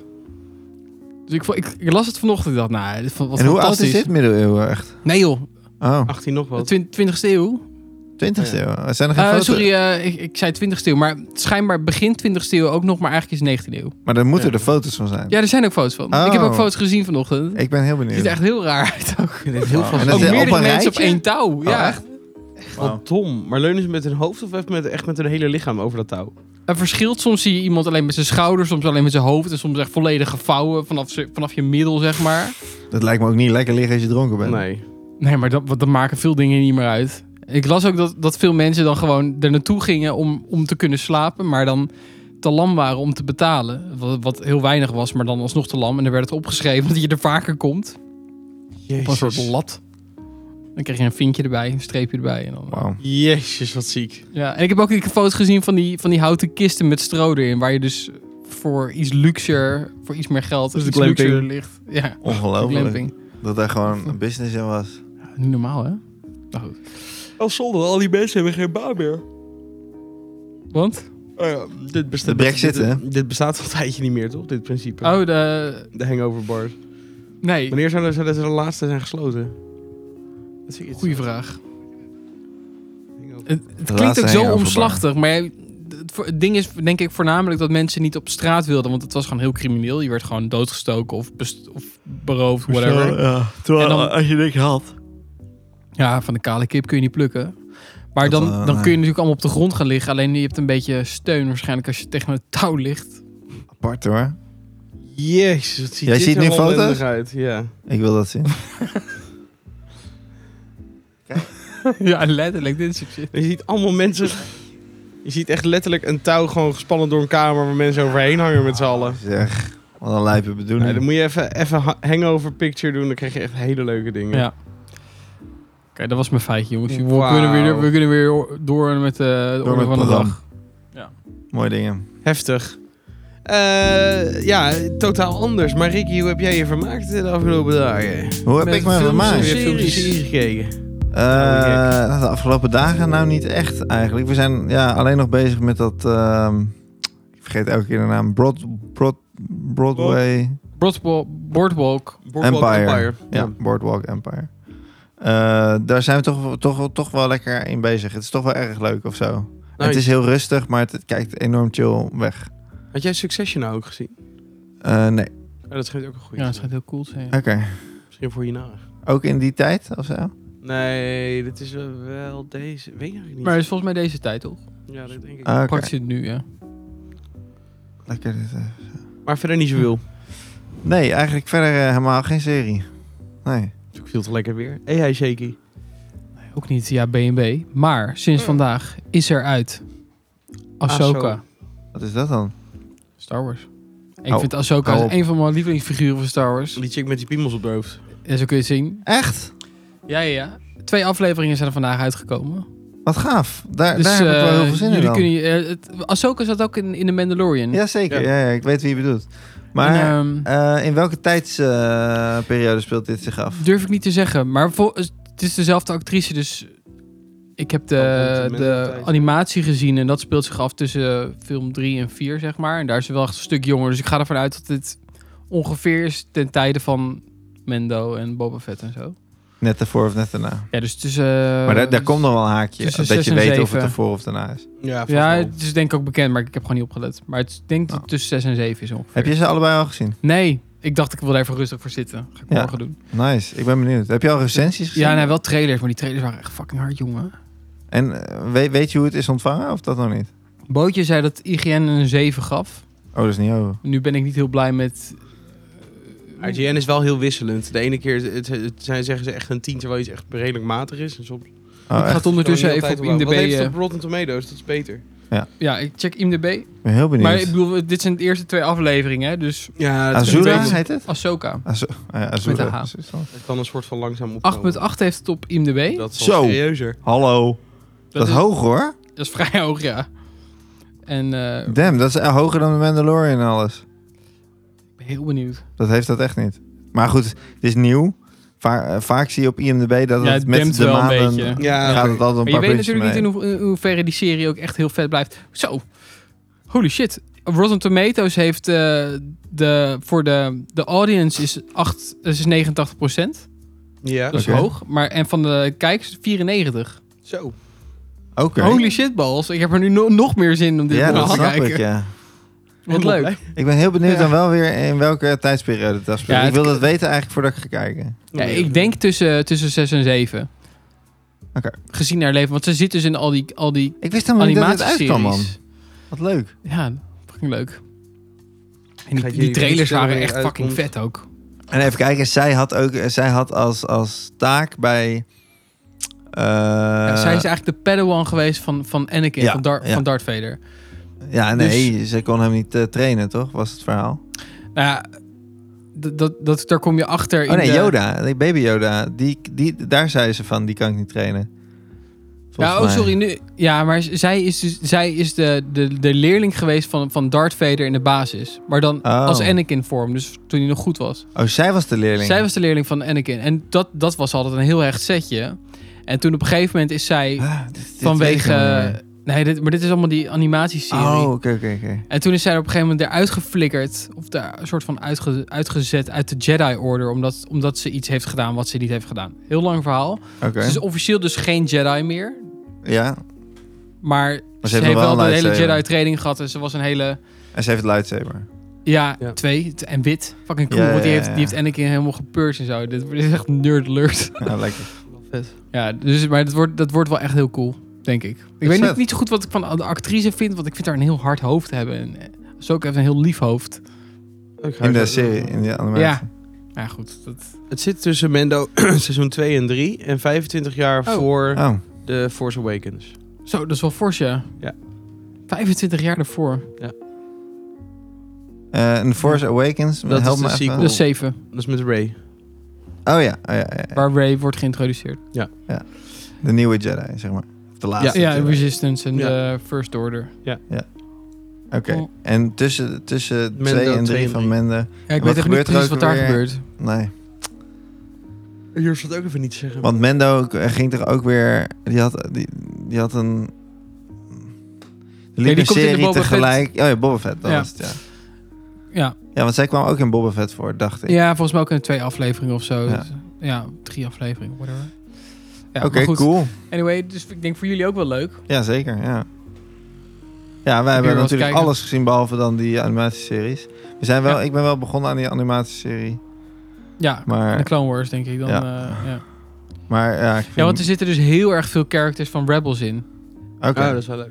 Dus ik, vo- ik, ik las het vanochtend. Ik dacht, nou, dit vond- wat
En hoe oud is
fantastisch. Ah.
dit middeleeuwen echt?
Nee joh,
Oh,
18 nog wat.
de 20 e eeuw.
20
Ja.
eeuw. Zijn er geen
Eh,
foto's?
sorry, eh, ik, ik zei 20 e eeuw, maar schijnbaar begin 20 e eeuw ook nog, maar eigenlijk is 19e eeuw.
Maar daar moeten
Ja.
er foto's van zijn.
Ja, er zijn ook foto's van.
Oh.
Ik heb ook foto's gezien vanochtend. Het
Ik ben heel benieuwd.
ziet er echt heel raar uit ook.
Ik vind dit heel
Wauw. En
van
dat
Ook
is op
meerdere
een
mensen op
rijtje? Oh,
één touw. ja,
echt? Wauw.
Wat dom. Maar leunen ze met hun hoofd of echt met, echt met hun hele lichaam over dat touw?
Het verschilt. Soms zie je iemand alleen met zijn schouders, soms alleen met zijn hoofd. En soms echt volledig gevouwen vanaf, ze- vanaf je middel, zeg maar.
Dat lijkt me ook niet lekker liggen als je dronken bent.
Nee.
Nee, maar dat, wat- dat maken veel dingen niet meer uit. Ik las ook dat, dat veel mensen dan gewoon er naartoe gingen om, om te kunnen slapen, maar dan te lam waren om te betalen. Wat, wat heel weinig was, maar dan alsnog te lam. En dan werd het opgeschreven dat je er vaker komt. Op een
Jezus.
soort lat. Dan kreeg je een vinkje erbij, een streepje erbij. En dan...
Wauw.
Jezus, wat ziek.
Ja, en ik heb ook een foto gezien van die, van die houten kisten met stro erin. Waar je dus voor iets luxer, voor iets meer geld,
Dus de
iets
glamping.
luxer ligt. Ja, de
Ongelooflijk.
glamping.
Dat daar gewoon een business in was.
Ja, niet normaal, hè? Nou goed.
Al zonder, Oh, al die mensen hebben geen baan meer. Oh
Want?
dit
De
bestaat,
brexit,
dit,
hè?
dit bestaat al een tijdje niet meer, toch? Dit principe.
Oh, de...
De hangover bars.
Nee.
Wanneer zijn er, zijn er de laatste zijn gesloten? Dat is iets-
Goeie vraag.
hangover.
Het, het
De
klinkt
laatste
ook zo
hangover
omslachtig, maar ja, het, voor- het ding is denk ik voornamelijk dat mensen niet op straat wilden, want het was gewoon heel crimineel. Je werd gewoon doodgestoken of, best- of beroofd, whatever.
terwijl eh,
En dan-
als je niks had.
Ja, van de kale kip kun je niet plukken. Maar
Dat,
dan,
eh,
dan kun je
nee.
natuurlijk allemaal op de grond gaan liggen. Alleen je hebt een beetje steun waarschijnlijk als je tegen het touw ligt.
Apart hoor.
Jezus, wat ziet
Jij
dit
ziet
er
nu
ellendig
foto's?
uit. Ja.
Ik wil dat zien.
ja, letterlijk. Dit soort shit.
Je ziet allemaal mensen... Je ziet echt letterlijk een touw gewoon gespannen door een kamer... waar mensen overheen hangen met z'n allen.
Zeg, wat een lijpe
Nee,
bedoeling.
dan moet je even, even ha- hangover picture doen. Dan krijg je echt hele leuke dingen.
Ja. Oké, dat was mijn feitje, jongens. We,
Wauw.
kunnen weer, we kunnen weer door met eh, de
Door met
orde van de
Padam.
dag. Ja.
Mooie dingen.
Heftig. Eh, ja, totaal anders. Maar Ricky, hoe heb jij je vermaakt de afgelopen dagen?
Hoe heb
Met
ik me
films
vermaakt?
en
Heb je films en
series.
series gekeken?
Eh, nou, de afgelopen dagen nou niet echt eigenlijk. We zijn ja, alleen nog bezig met dat... ehm, ik vergeet elke keer de naam. Broad, Broad, Broadway...
Broadwalk- Boardwalk.
Boardwalk
Empire.
Ja.
Ja, Boardwalk Empire. Eh, daar zijn we toch, toch, toch wel lekker in bezig. Het is toch wel erg leuk of zo. Het
Nice.
is heel rustig, maar het, het kijkt enorm chill weg.
Nou, Had jij Succession nou ook gezien?
Eh, nee,
Oh, dat schijnt ook een goede.
Ja,
te zijn.
dat schijnt heel cool te zijn.
oké.
Misschien voor hierna.
Ook in die tijd of zo?
Nee, dit is eh, wel deze. Weet ik eigenlijk niet.
Maar het is volgens mij deze tijd, toch?
Ja, dat denk ik.
Ah, oké.
Pakt je het nu, ja.
Lekker dit, eh.
Maar verder niet zoveel.
Nee, eigenlijk verder eh, helemaal geen serie. Nee.
Het is ook veel te lekker weer. Hey, hey, Shaky.
Ook niet, ja, B&B. Maar sinds vandaag is er uit Mm. Ahsoka.
Ahsoka.
Wat is dat dan?
Star Wars. En ik
Hou-
vind Ahsoka
hou op.
is een van mijn lievelingsfiguren van Star Wars.
Die chick met die piemels op de hoofd.
En zo kun je het zien.
Echt?
Ja, ja, ja. Twee afleveringen zijn er vandaag uitgekomen.
Wat gaaf. Daar,
Dus
daar heb ik wel heel
eh,
veel zin in
jullie
dan.
kunnen je- eh, het- Ahsoka zat ook in, in The Mandalorian.
Jazeker,
Ja.
ja. Ja, ik weet wie je bedoelt. Maar
En, ehm,
eh, in welke tijdsperiode speelt dit zich af?
durf ik niet te zeggen. Maar vol- het is dezelfde actrice, dus... Ik heb
Oh,
Dat
de,
moet de
de
mentaliteit.
animatie gezien en dat speelt zich af tussen eh, film 3 en 4, zeg maar. En daar is ze wel echt een stuk jonger. Dus ik ga ervan uit dat dit ongeveer is ten tijde van Mendo en Boba Fett en zo.
Net ervoor of net daarna?
Ja, dus tussen...
Maar daar, daar komt nog wel een haakje.
tussen
Dat
zes
je
en
weet of
zeven.
het ervoor of daarna is.
Ja,
dus- Ja, het is denk ik ook bekend, maar ik heb gewoon niet opgelet. Maar het is- ik denk dat het
Oh.
tussen 6 en 7 is ongeveer.
Heb je ze allebei al gezien?
Nee, ik dacht ik wil daar even rustig voor zitten. Ga ik
Ja.
morgen doen.
Nice. Ik ben benieuwd. Heb je al recensies gezien?
Ja, nee, wel trailers, maar die trailers waren echt fucking hard, jongen.
En eh, weet, weet je hoe het is ontvangen of dat nog niet?
Bootje zei dat IGN een 7 gaf.
Oh, dat is niet over.
Nu ben ik niet heel blij met... eh,
IGN is wel heel wisselend. De ene keer het, het zijn, zeggen ze echt een 10, terwijl iets echt redelijk matig is. En soms
Oh,
ik ga
echt?
het ondertussen
Kan je
even
heel
op
tijd omhoog.
IMDb...
Wat heeft het
eh,
op Rotten Tomatoes? Dat is beter.
ja, ik check IMDb.
Ik ben heel
Maar ik
benieuwd.
bedoel, dit zijn de eerste twee afleveringen, hè, dus
Ja,
Azura
is-
heet het?
Ahsoka. 8.8
Azu- ah, ja, Azura.
Met een H.
Precies dan.
Het kan een soort van langzaam opkomen.
heeft het op IMDb. Dat,
Oh. Dat is
Zo.
wel serieuzer.
Hallo. Dat, is
is,
hoog hoor.
dat is vrij hoog, ja. En eh, ik
Damn, dat is eh, hoger dan de Mandalorian en alles.
ben heel benieuwd.
Dat heeft dat echt niet. Maar goed, het is nieuw. Va- eh, vaak zie je op IMDb dat
Ja,
het
het
met
dempt
de
wel een
maanden
beetje.
Ja,
gaat
oké.
het altijd een
Maar je
paar
weet
puntjes
natuurlijk niet in,
mee.
hoe, in hoeverre die serie ook echt heel vet blijft. Zo, holy shit. Rotten Tomatoes heeft eh, de, voor de, de audience is, 8, is 89
Ja.
Dat is
Oké.
hoog. Maar, en van de kijkers 94.
Zo.
Oké.
Holy shit balls. Ik heb er nu no- nog meer zin in om dit
Ja,
te
dat
gaan
snap ik,
kijken.
ja.
Wat leuk.
Ik ben heel benieuwd
Ja.
dan wel weer in welke tijdsperiode dat speelt.
Ja,
ik
het-
wil dat weten eigenlijk voordat ik ga kijken.
Ja, ik denk tussen, tussen 6 en 7.
Oké. Oh,
Gezien haar leven. Want ze zit dus in al die, al die
Ik wist helemaal niet dat het uitkwam, man.
animatieseries.
Wat leuk.
Ja, fucking leuk. En
Ga ik
die, die
jullie
trailers
vertellen
waren
wanneer
echt
het
fucking
uitkomt?
vet ook.
En even kijken, zij had, ook, eh, zij had als, als taak bij... eh,
Ja, zij is eigenlijk de Padawan geweest van, van Anakin,
Ja,
van, Dar-
ja.
van Darth Vader.
ja, nee,
Dus-
ze kon hem niet eh, trainen, toch? Was het verhaal.
Nou ja, d- dat, dat, daar kom je achter
oh
in
nee,
de...
Yoda. Die baby Yoda. Die, die, daar zei ze van, die kan ik niet trainen. Volgens
ja, oh,
mij.
sorry. Nu, ja, maar z- zij is, dus, zij is de, de, de leerling geweest van, van Darth Vader in de basis. Maar dan
Oh.
als Anakin-vorm, dus toen hij nog goed was.
Oh, zij was de leerling.
Zij was de leerling van Anakin. En dat, dat was altijd een heel hecht setje. En toen op een gegeven moment is zij
Ah, dit- dit weet ik
vanwege...
helemaal niet meer.
Nee, dit, maar dit is allemaal die animatieserie.
Oh, oké, oké, oké.
En toen is zij er op een gegeven moment eruit geflikkerd. Of daar een soort van uitge- uitgezet uit de Jedi Order. Omdat, omdat ze iets heeft gedaan wat ze niet heeft gedaan. Heel lang verhaal.
Oké.
Ze is officieel dus geen Jedi meer.
Ja,
Maar ze,
heeft nog
heeft
wel
wel,
een
de hele
lightsaber.
Jedi training gehad. En ze was een hele...
en ze heeft het lightsaber.
Ja,
Ja.
twee. t- En wit. Fucking cool.
Ja,
want die,
ja,
heeft,
ja.
die heeft Anakin helemaal gepurged en zo. Dit, dit is echt nerd alert.
Ja, lekker.
Vet.
Ja, dus, maar dat wordt, dat wordt wel echt heel cool. Denk ik. Ik weet
vet.
niet, niet zo goed wat ik van de actrice vind. Want ik vind haar een heel hard hoofd hebben. En eh, ze ook heeft een heel lief hoofd.
Ik ga
In de
even-
serie, in de animatie.
Ja. Ja, goed. Dat,
Het zit tussen Mendo seizoen 2 en 3 en 25 jaar
Oh.
voor
Oh,
de Force Awakens.
Zo, dat is wel fors, ja.
Ja.
25 jaar daarvoor.
eh, en Force Awakens,
Dat is
help
de
me
sequel.
even.
Cool.
Dat is Dus- 7,
Dat is met Ray.
Oh ja, oh ja, ja, ja.
waar Ray wordt geïntroduceerd.
de nieuwe Jedi, zeg maar. De laatste
ja,
Jedi.
Resistance en
Ja.
de First Order.
Oké, en tussen, tussen
Mendo
2
twee
en 3
en
van
drie.
Mende...
Ja, ik
Wat
weet echt
gebeurt
niet
er
precies
ook
wat daar
weer?
gebeurt.
Nee,
Je zult ook even niet zeggen.
want Mendo k- ging er ook weer... Die had, die, die had een... Er
die
liep een
komt in de
serie
Boba Fett.
tegelijk... Oh ja, Boba Fett, dat
Ja.
was het, ja.
Ja.
Ja, want zij kwam ook in Boba Fett voor, dacht ik.
ja, volgens mij ook in twee afleveringen of zo.
Ja.
Dus, Ja, drie afleveringen, whatever. Ja,
Oké,
maar goed.
cool.
Anyway, dus ik denk voor jullie ook wel leuk.
Ja, zeker, ja. Ja, wij
wel
hebben
eens
natuurlijk
kijken?
alles gezien behalve dan die animatieseries. We zijn wel,
Ja.
Ik ben wel begonnen aan die animatieserie.
Ja, de
Maar,
Clone Wars denk ik dan.
Ja.
Ja, ja.
maar ja, ik vind...
ja want er zitten dus heel erg veel characters van Rebels in.
Oké.
Oh, dat is wel leuk.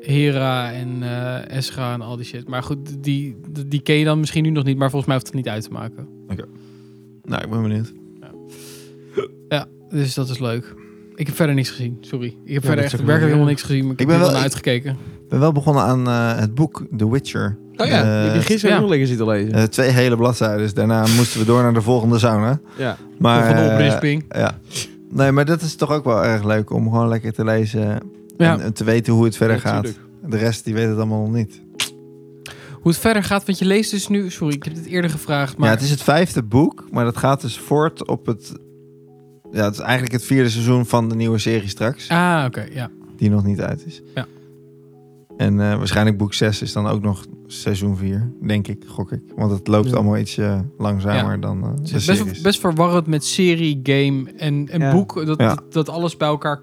Hera en eh Esra en al die shit. Maar goed, die, die ken je dan misschien nu nog niet, maar volgens mij hoeft het niet uit te maken.
Nou, ik ben benieuwd.
Dus dat is leuk. Ik heb verder niks gezien, sorry. Ik heb
dat
verder
is
echt
ook
werkelijk
wel-
helemaal niks gezien, maar ik,
Ik
ben
ben
heb wel
wel-
uitgekeken.
Ik ben wel begonnen aan eh, het boek The Witcher.
Oh ja,
Eh,
die heb je gisteren
ja.
nog lekker zitten lezen.
Eh, twee hele bladzijden, dus daarna moesten we door naar de volgende sauna.
ja.
Maar,
van de
eh,
oprisping.
ja. Nee, maar dat is toch ook wel erg leuk om gewoon lekker te lezen
Ja.
en, en te weten hoe het verder
Ja,
gaat.
tuurlijk.
De rest die weet het allemaal nog niet.
Hoe het verder gaat, want je leest dus nu... Sorry, ik heb dit eerder gevraagd, maar...
Ja, het is het vijfde boek, maar dat gaat dus voort op het. Ja, het is eigenlijk het vierde seizoen van de nieuwe serie straks,
Ah, oké, ja.
die nog niet uit is.
Ja.
En eh, waarschijnlijk boek 6 is dan ook nog seizoen 4, denk ik, gok ik. Want het loopt
Ja.
allemaal ietsje langzamer
Ja.
dan eh, de
Het is best,
series.
best verwarrend met serie, game en, en
Ja.
boek. Dat,
Ja.
dat, dat alles bij elkaar...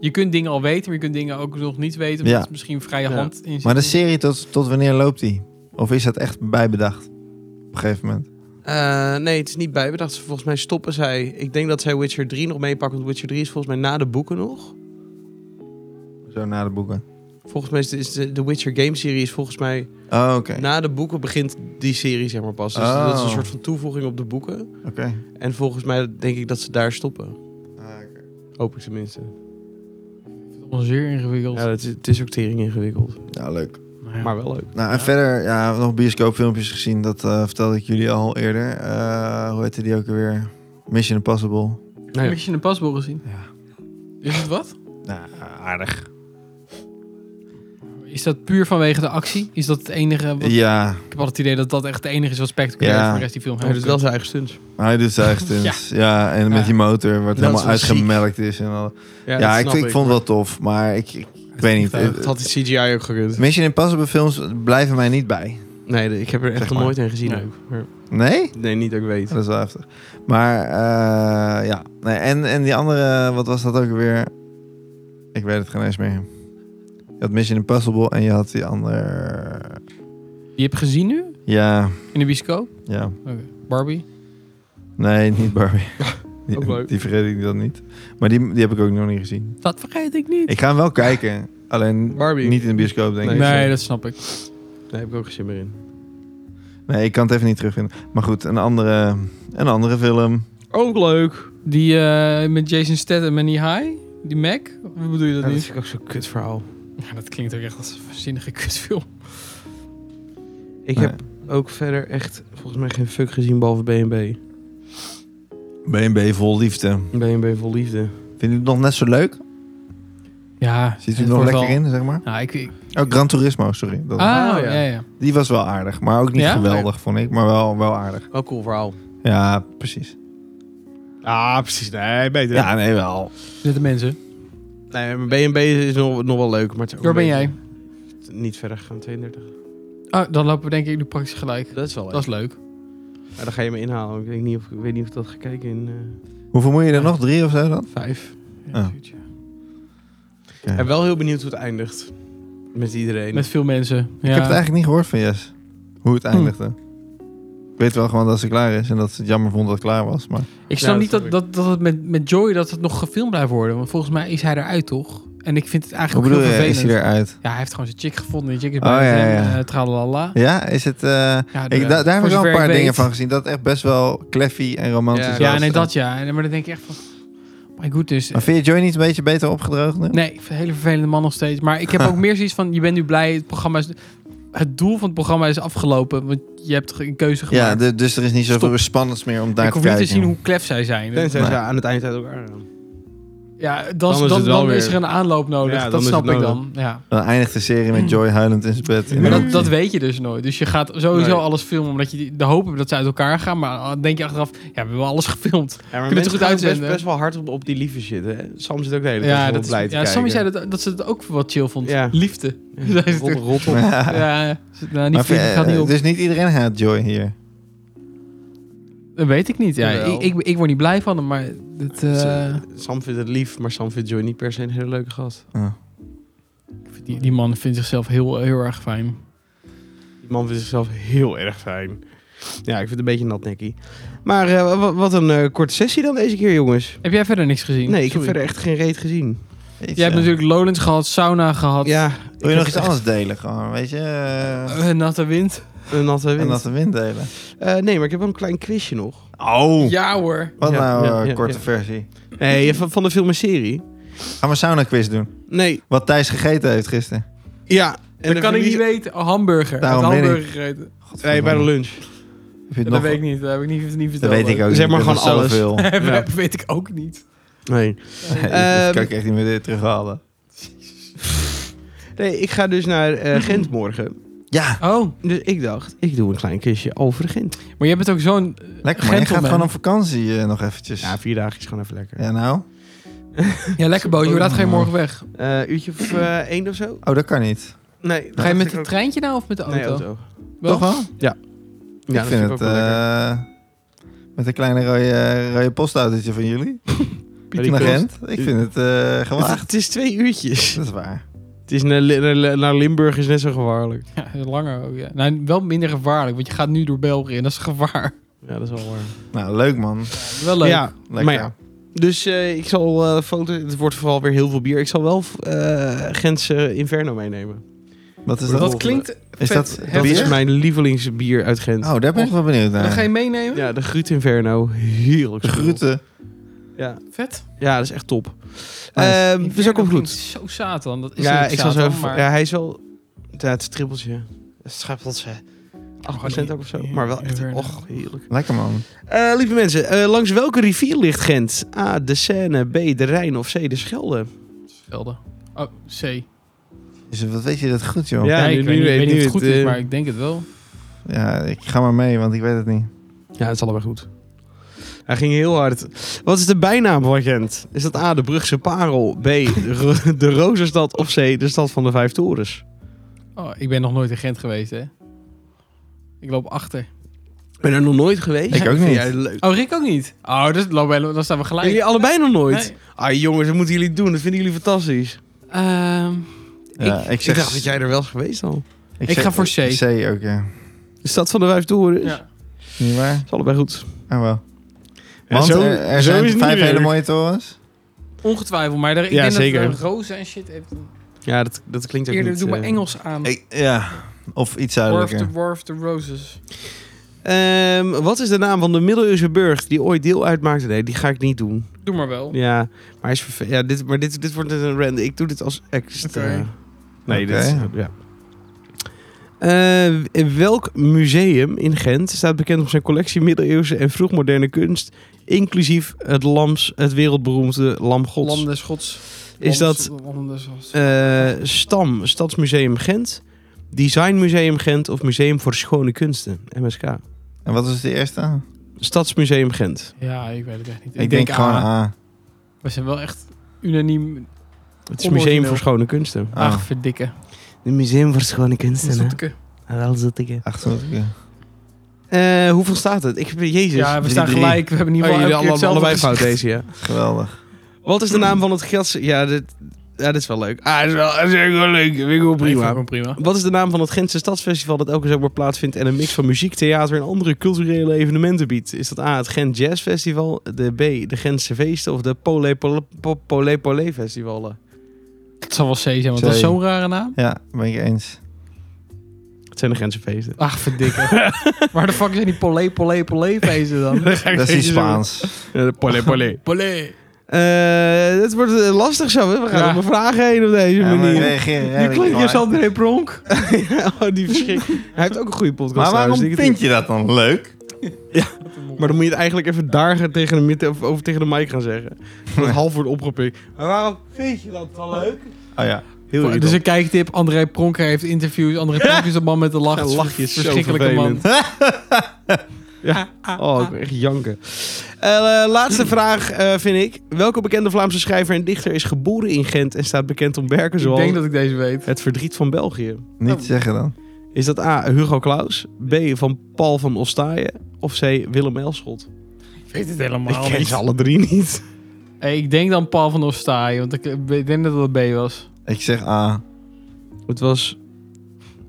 Je kunt dingen al weten, maar je kunt dingen ook nog niet weten.
Ja.
Omdat het misschien vrije
Ja.
hand in zit.
Maar de serie, tot, tot wanneer loopt die? Of is dat echt bijbedacht op een gegeven moment?
Eh, nee, het is niet bijbedacht. Volgens mij stoppen zij... Ik denk dat zij Witcher 3 nog meepakken. Want Witcher 3 is volgens mij na de boeken nog.
Zo na de boeken.
Volgens mij is de, is de- de Witcher game serie is volgens mij...
Oh, oké.
Na de boeken begint die serie zeg maar pas. Dus
Oh.
dat is een soort van toevoeging op de boeken.
Oké.
En volgens mij denk ik dat ze daar stoppen. Hoop ik tenminste.
Zeer ingewikkeld.
Ja, dat is, het is ook tering ingewikkeld.
Ja, leuk.
Maar ja.
Maar wel leuk.
Nou, en verder, ja, nog bioscoopfilmpjes gezien. Dat eh, vertelde ik jullie al eerder. Eh, hoe heette die ook alweer? Mission Impossible.
Nou ja.
Heb je een pasbol gezien?
Ja.
Is het wat?
Nou, aardig.
Is dat puur vanwege de actie? Is dat het enige? Wat,
Ja,
Ik heb altijd het idee dat dat echt het enige is wat spectaculair
Ja.
is voor de rest die film.
Hij doet wel zijn eigen stunts.
maar hij doet zijn eigen stunts. ja. en met
Ja.
die motor, wat
is
helemaal
wel
uitgemelkt is. En al. Ja,
dat
ik,
snap
ik vond het wel tof, maar ik, ik, ik weet niet.
Het had die CGI ook gekund.
Mission Impossible films blijven mij niet bij.
Nee, de- ik heb er echt
Zeg
nog
maar.
nooit een gezien
Nee.
ook. Maar-
Nee?
Nee, niet dat ik weet.
Ja, dat is wel heftig. Maar eh, ja, nee, en, en die andere, wat was dat ook weer? Ik weet het geen eens meer. Je had Mission Impossible en je had die andere...
Je hebt gezien nu
Ja,
in de bioscoop?
ja.
Oké. Barbie.
Nee, niet Barbie. Die,
Ook leuk.
die vergeet ik dan niet. Maar die, die heb ik ook nog niet gezien.
Dat vergeet ik niet.
Ik ga hem wel kijken. Alleen
Barbie.
niet in de bioscoop, denk
Nee,
ik.
nee,
sorry.
dat snap ik.
Daar heb ik ook geen zin meer in.
Nee, ik kan het even niet terugvinden. Maar goed, een andere, een andere film.
Ook leuk.
Die eh, met Jason Statham en die high, die Mac. Of Hoe bedoel je dat
Dat
nu?
is ook zo'n kut verhaal.
Ja, dat klinkt ook echt als een waanzinnige kutfilm.
Ik
Nee.
heb ook verder echt volgens mij geen fuck gezien behalve BNB.
B&B vol liefde.
BNB vol liefde.
Vind je het nog net zo leuk?
Ja.
Ziet u
het
er nog
wordt
lekker
wel-
in, zeg maar?
Nou, ik, ik-
Oh, Gran Turismo, sorry. Dat
ah,
Oh, ja.
ja. ja, ja.
Die was wel aardig, maar ook niet
Ja?
geweldig, vond ik. Maar wel, wel aardig.
Wel cool verhaal.
Ja, precies.
Ah, precies. Nee, beter.
Ja, nee, wel.
Zitten mensen.
Nee, mijn BNB is nog, nog wel leuk, maar het is ook
Waar ben
een
jij?
beetje- Niet verder gaan, 32.
Oh, dan lopen we denk ik jullie praktisch gelijk.
Dat is wel leuk.
Dat is leuk.
Maar dan ga je me inhalen. Ik, denk niet of, ik weet niet of ik dat ga kijken in eh,
Hoeveel moet je er nog? Drie of zo dan?
vijf.
Ah. Oké.
En wel heel benieuwd hoe het eindigt. Met iedereen.
Met veel mensen.
Ik heb het eigenlijk niet gehoord van Jess. Hoe
Hm.
het eindigde. Ik weet wel gewoon dat ze klaar is en dat ze het jammer vond dat het klaar was. Maar
Ik
Ja,
snap
dat
niet dat,
snap
dat, dat het met, met Joy dat het nog gefilmd blijft worden. Want volgens mij is hij eruit, toch? En ik vind het
hoe
eigenlijk ook
bedoel
heel
je,
vervelend.
is hij eruit?
Ja, hij heeft gewoon zijn chick gevonden. Die chick is
Oh,
bij
ja,
hem.
ja.
eh, tralalala.
Ja, is het... eh,
Ja, de-
ik, da- daar heb
voor
ik al
zover
een paar
weet-
dingen van gezien. Dat echt best wel cleffy en romantisch
Ja,
was.
Ja, nee, dat ja. En- Maar dan denk ik echt van... My goodness.
Maar vind je Joy niet een beetje beter opgedroogd nu?
Nee, ik vind een hele vervelende man nog steeds. Maar ik heb ook meer zoiets van... Je bent nu blij, het programma is... Het doel van het programma is afgelopen. Want je hebt ge- een keuze gemaakt.
Ja, de- dus er is niet zoveel
Stop.
spannends meer om daar
ik
te
hoef niet
kijken.
te zien hoe klef zij zijn.
Tenzij
Nee.
ze aan het eind uit elkaar gaan.
Ja, dan,
is
dan,
het
dan,
wel weer-
is er een aanloop nodig.
Ja, dan
dat
is
snap
het
ik dan.
nodig.
Ja.
Dan eindigt de serie met Joy huilend in zijn bed.
Maar
Hm. Maar
Ja.
dat, dat weet je dus nooit. Dus je gaat sowieso
Nee.
alles filmen omdat je die- de hoop hebt dat ze uit elkaar gaan. Maar dan denk je achteraf, ja, we hebben wel alles gefilmd.
Ja, maar
het
mensen
goed
gaan best,
uitzenden.
best wel hard op, op die liefde zitten. Hè? Sam zit ook de hele tijd
ja,
gewoon
dat
blij
is,
te
ja
kijken.
Sammy zei dat, dat ze het ook wel chill vond.
Ja.
Liefde. Zei ze
Rot,
toen.
rot op.
Ja, ja. Ze- nou, die
Maar
vriend
vind-
gaat niet op.
Dus niet iedereen haat Joy hier.
Dat weet ik niet. Ja,
Jawel.
ik, ik, ik word niet blij van hem, maar het, eh,
Ze- Sam vindt het lief, maar Sam vindt Joy niet per se een hele leuke gast.
die, die man vindt zichzelf heel, heel erg fijn.
Die man vindt zichzelf heel erg fijn. Ja, ik vind het een beetje natnekkie. Maar eh, wa- wat een eh, korte sessie dan deze keer, jongens.
Heb jij verder niks gezien?
Nee, ik heb
Sorry.
verder echt geen reet gezien.
Weet
Jij hebt
je.
natuurlijk Lowlands gehad, sauna gehad,
Ja,
Wil
ik
je nog
heb
iets
echt
anders delen gewoon, weet je? eh,
eh, natte wind.
Een natte wind.
en dat de wind delen.
Eh, nee, maar ik heb wel een klein quizje nog.
Oh,
Ja hoor.
wat
Ja,
nou,
ja,
eh,
ja,
korte
ja.
versie.
Nee, eh, van, van de film en serie.
Gaan we sauna quiz doen.
Nee,
Wat Thijs gegeten heeft gisteren.
ja. En
En dat
de
kan ik
familie-
niet weten. Oh, hamburger.
Daarom
ik had
ben ik-
hamburger gegeten.
Nee, bij de lunch.
Heb je het
Ja,
nog?
dat weet ik niet. Dat heb ik niet, niet
Dat
verteld.
weet ik ook
Zeg
niet,
maar
er
gewoon
was
alles.
Zoveel.
Dat
Ja.
weet ik ook niet.
Nee.
dat kan ik echt niet meer dit terughalen.
Nee, ik ga dus naar eh, Gent morgen.
Ja,
Oh,
Dus ik dacht, ik doe een klein quizje over Gent.
maar jij bent ook zo'n... eh,
lekker man. Je gaat
gentleman.
gewoon op vakantie eh, nog eventjes.
Ja,
Ja,
vier dagen is gewoon even lekker.
nou?
Ja, lekker boos. Hoe laat ga je morgen weg?
Eh, uurtje of eh, één of zo?
Oh, dat kan niet.
Nee.
Ga je met het treintje nou of met de auto?
Nee, auto.
Wel?
Toch wel?
Ja,
ik
dat
vind
ook
het...
wel lekker.
eh, met een kleine rode, rode postautootje van jullie.
Pieter
Naar
Kost.
Gent. Ik vind het eh
Het,
gewaagd.
het is twee uurtjes.
Dat is waar.
Het is naar, Li- naar- naar Limburg is net zo gevaarlijk.
Ja, langer ook, ja. Nou, wel minder gevaarlijk, want je gaat nu door België en dat is gevaar.
Ja, dat is wel waar.
Nou, leuk man.
Wel leuk.
Ja,
Lekker.
Maar ja. Dus eh, ik zal eh foto. Het wordt vooral weer heel veel bier. Ik zal wel eh Gentse Inferno meenemen.
Wat is
Dat
dat?
dat klinkt
Is
vet.
dat
Dat
bier?
is mijn eh, lievelingsbier uit Gent.
Oh, daar ben ik wel benieuwd naar.
Dan ga je meenemen?
Ja, de Gruut Inferno. Heerlijk.
De
spul.
groeten.
Ja,
Vet.
ja, dat is echt top.
Nice.
Ehm, dus dat komt
Klinkt
goed.
Zo Satan. Dat is
ja,
ook
ik zal zo
Satan,
even-
maar...
ja, hij is wel. Ja, het is trippeltje. Het schappeltje. 8% ook of zo. Maar wel echt.
Inferno.
Och, heerlijk.
Lekker man.
Eh, lieve mensen, eh, langs welke rivier ligt Gent? A, de Seine, B, de Rijn of C, de Schelde?
Velden. Oh, C.
Dus wat weet je dat goed, joh?
Ja,
Ja,
nu-
ik
nu
weet, niet-
weet-
weet
nu
niet of het
het,
goed is,
eh,
maar ik denk het wel.
Ja, ik ga maar mee, want ik weet het niet.
Ja, dat is allemaal goed. Hij ging heel hard. Wat is de bijnaam van Gent? Is dat A, de Brugse Parel, B, de, Ro- de Rozenstad of C, de Stad van de Vijf Torens?
Oh, ik ben nog nooit in Gent geweest, hè. Ik loop achter.
Ik ben er nog nooit geweest.
Ik ook
Vind
niet.
jij het leuk?
Oh, Rick ook niet. Oh, dus lopen we, dan staan we
Ben
gelijk.
jullie allebei nog nooit?
Nee.
Ah jongens, dat moeten jullie doen. Dat vinden jullie fantastisch.
Ehm,
Ja,
ik,
ik, zeg,
ik dacht dat jij er wel is geweest al.
ik
zeg-
ga voor C.
C ook, ja.
De Stad van de Vijf Torens. Dat
ja.
Niet waar?
is allebei goed.
Oh, wel.
Ja,
Want
zo-
er, er
zo is
zijn
het
vijf
niet
hele
leuk.
mooie torens.
Ongetwijfeld, maar daar, ik
Ja,
denk
zeker.
dat eh, rozen en shit heeft...
Ja, dat, dat klinkt ook
Eerder
niet...
doe maar
eh,
Engels aan.
Ik, ja, of iets
Dwarf the,
zuidelijker.
dwarf the roses.
Ehm, wat is de naam van de middeleeuwse burg die ooit deel uitmaakte? Nee, die ga ik niet doen.
Doe maar wel.
Ja, maar, hij is verve- ja, dit, maar dit, dit wordt net een random. Ik doe dit als extra.
Oké.
Nee,
Oké.
dit is- ja. Eh, in welk museum in Gent staat bekend om zijn collectie middeleeuwse en vroegmoderne kunst, inclusief het, lams, het wereldberoemde Lam Gods?
Lam des Gods.
Is dat
Lam des Gods.
eh, Stam, Stadsmuseum Gent, Designmuseum Gent of Museum voor Schone Kunsten, MSK?
En wat was de eerste?
Stadsmuseum Gent.
Ja, ik weet het echt niet.
Ik, denk, gewoon
aan.
A.
We zijn wel echt unaniem
Het is Museum voor Schone Kunsten.
Ah,
Ach, verdikken.
Het Museum voor Schone
Dat is
Kunsten, Ah,
natuurlijk-
Wel zittige.
acht zat ik, ja.
Eh, hoeveel staat het? Ik, jezus.
Ja, we
drie,
staan
drie.
gelijk. We hebben in
Oh,
ieder geval
jullie
elke keer
alle,
hetzelfde
allebei fout
gezegd.
deze, ja.
Geweldig.
Wat is de naam van het gras... Ja, dit, ja, dit is wel leuk. Ah, dit is wel, dit is echt wel leuk. Vind ik wel
Ik vond
prima.
hem prima.
Wat is de naam van het Gentse Stadsfestival dat elke zomer plaatsvindt en een mix van muziek, theater en andere culturele evenementen biedt? Is dat A, het Gent Jazz Festival, de B, de Gentse Feesten of de Pole Pole Pole, Pole, Pole Festivalen?
Het zal wel C zijn, want dat is
Zee.
zo'n rare naam.
Ja, ben ik eens.
Het zijn de Gentse Feesten.
Ach, verdikken. Waar de fuck zijn die polé, polé, polé feesten dan?
Dat is iets Spaans.
Ja, de Pole Pole.
Polé.
Eh, het wordt eh, lastig zo, hè? we gaan
Ja.
op mijn vragen heen op deze
Ja, maar
manier.
reageer
Nu
redelijk
klinkt je
maar.
als André Pronk.
oh, die verschrik. Hij heeft ook een goede podcast
Maar waarom
trouwens, die ik het-
vind je dat dan leuk?
Maar dan moet je het eigenlijk even daar gaan tegen de, mid- of over tegen de mic gaan zeggen. Dat het half wordt opgepikt. Maar waarom vind je dat dan leuk?
Oh ja.
Heel
Voor- Dus een kijktip. André Pronk heeft interviews. André Pronk is een man met een lach.
Ja,
Het is
lachje
een
is zo
verschrikkelijke man.
Ja. Oh, ik wil echt janken. Eh, eh, laatste vraag eh, vind ik. Welke bekende Vlaamse schrijver en dichter is geboren in Gent en staat bekend om werken
Ik
zoals
denk dat ik deze weet.
Het Verdriet van België?
Niet zeggen dan.
Is dat A. Hugo Claus, B. van Paul van Ostaaien of C. Willem Elschot?
Ik weet het helemaal
Ik ken ze alle drie niet.
Hey, ik denk dan Paul van Ostaaien, want ik, ik denk dat dat B was.
Ik zeg A.
Het was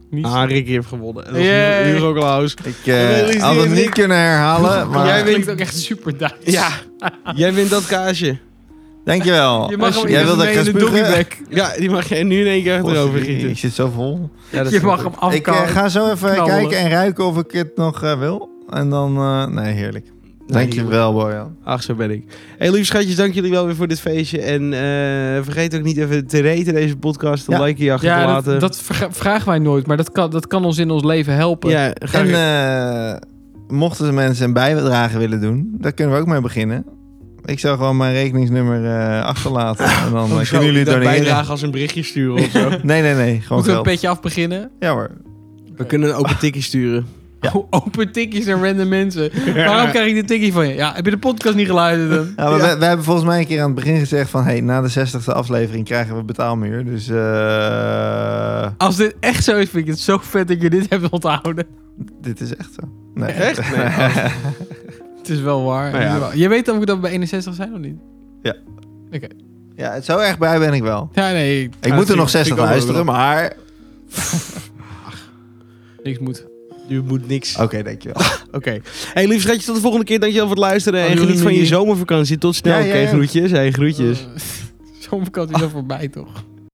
Niet
A. Ricky heeft gewonnen. Het was
Yay.
Hugo Claus.
Ik
Maar
eh
is die
had het
niet-
niet kunnen herhalen, maar...
Jij
Jij
weet-
klinkt ook echt super Duits.
Ja, jij wint dat kaasje.
Dankjewel.
Je mag hem
Jij
even
wilde
mee in
gaan
de
spugen.
doggyback.
Ja, die mag jij nu in één keer achterover
Godverdorie,
gieten.
Ik zit zo vol.
Ja, dat
Je
is
mag
wel
hem
goed.
Ik eh,
afkomen.
ga zo even
knallen.
kijken en ruiken of ik het nog eh, wil. En dan... eh, nee, heerlijk. Dankjewel, Bojan.
Ach, zo ben ik. hey, lieve schatjes, dank jullie wel weer voor dit feestje. En eh, vergeet ook niet even te reten deze podcast. Een
Ja.
likeje achter te
Ja,
laten.
dat, dat verga- vragen wij nooit, maar dat kan, dat kan ons in ons leven helpen.
ja, Oh ga
En
ik-
eh, mochten de mensen een bijdrage willen doen, daar kunnen we ook mee beginnen. Ik zou gewoon mijn rekeningsnummer eh, achterlaten. En dan eh,
Oh, zo,
kunnen jullie
dat
doneren.
bijdrage als een berichtje sturen of zo.
Nee, nee, nee. Gewoon
Moeten we een
geld.
petje af beginnen?
Ja hoor.
We kunnen ook een tikkie sturen.
Open tikkies naar random mensen. Waarom krijg ik dit tikkie van je? Ja, heb je de podcast niet geluisterd? dan?
Ja, maar We, we hebben volgens mij een keer aan het begin gezegd van... Hey, na de 60ste aflevering krijgen we betaalmuur. Dus eh,
Als dit echt zo is, vind ik het zo vet dat je dit hebt onthouden.
dit is echt zo. Nee.
Echt? Nee, oh.
Het is wel waar.
Nou ja.
Het is wel- Je weet ook dat we bij 61 zijn of niet?
Ja, het zo erg bij ben ik wel.
Ja, nee. Ik,
Ik moet er nog 60
ik ook wel
luisteren, maar...
Niks moet.
Nu moet niks.
Oké, dankjewel.
Oké. hey, lieve schatjes, tot de volgende keer. Dankjewel voor het luisteren.
Oh,
en
doei,
geniet van
doei.
je zomervakantie. Tot snel.
Ja,
Oké,
ja, ja.
groetjes. Hey, groetjes.
Zo'n vakantie Eh, is al voorbij, toch?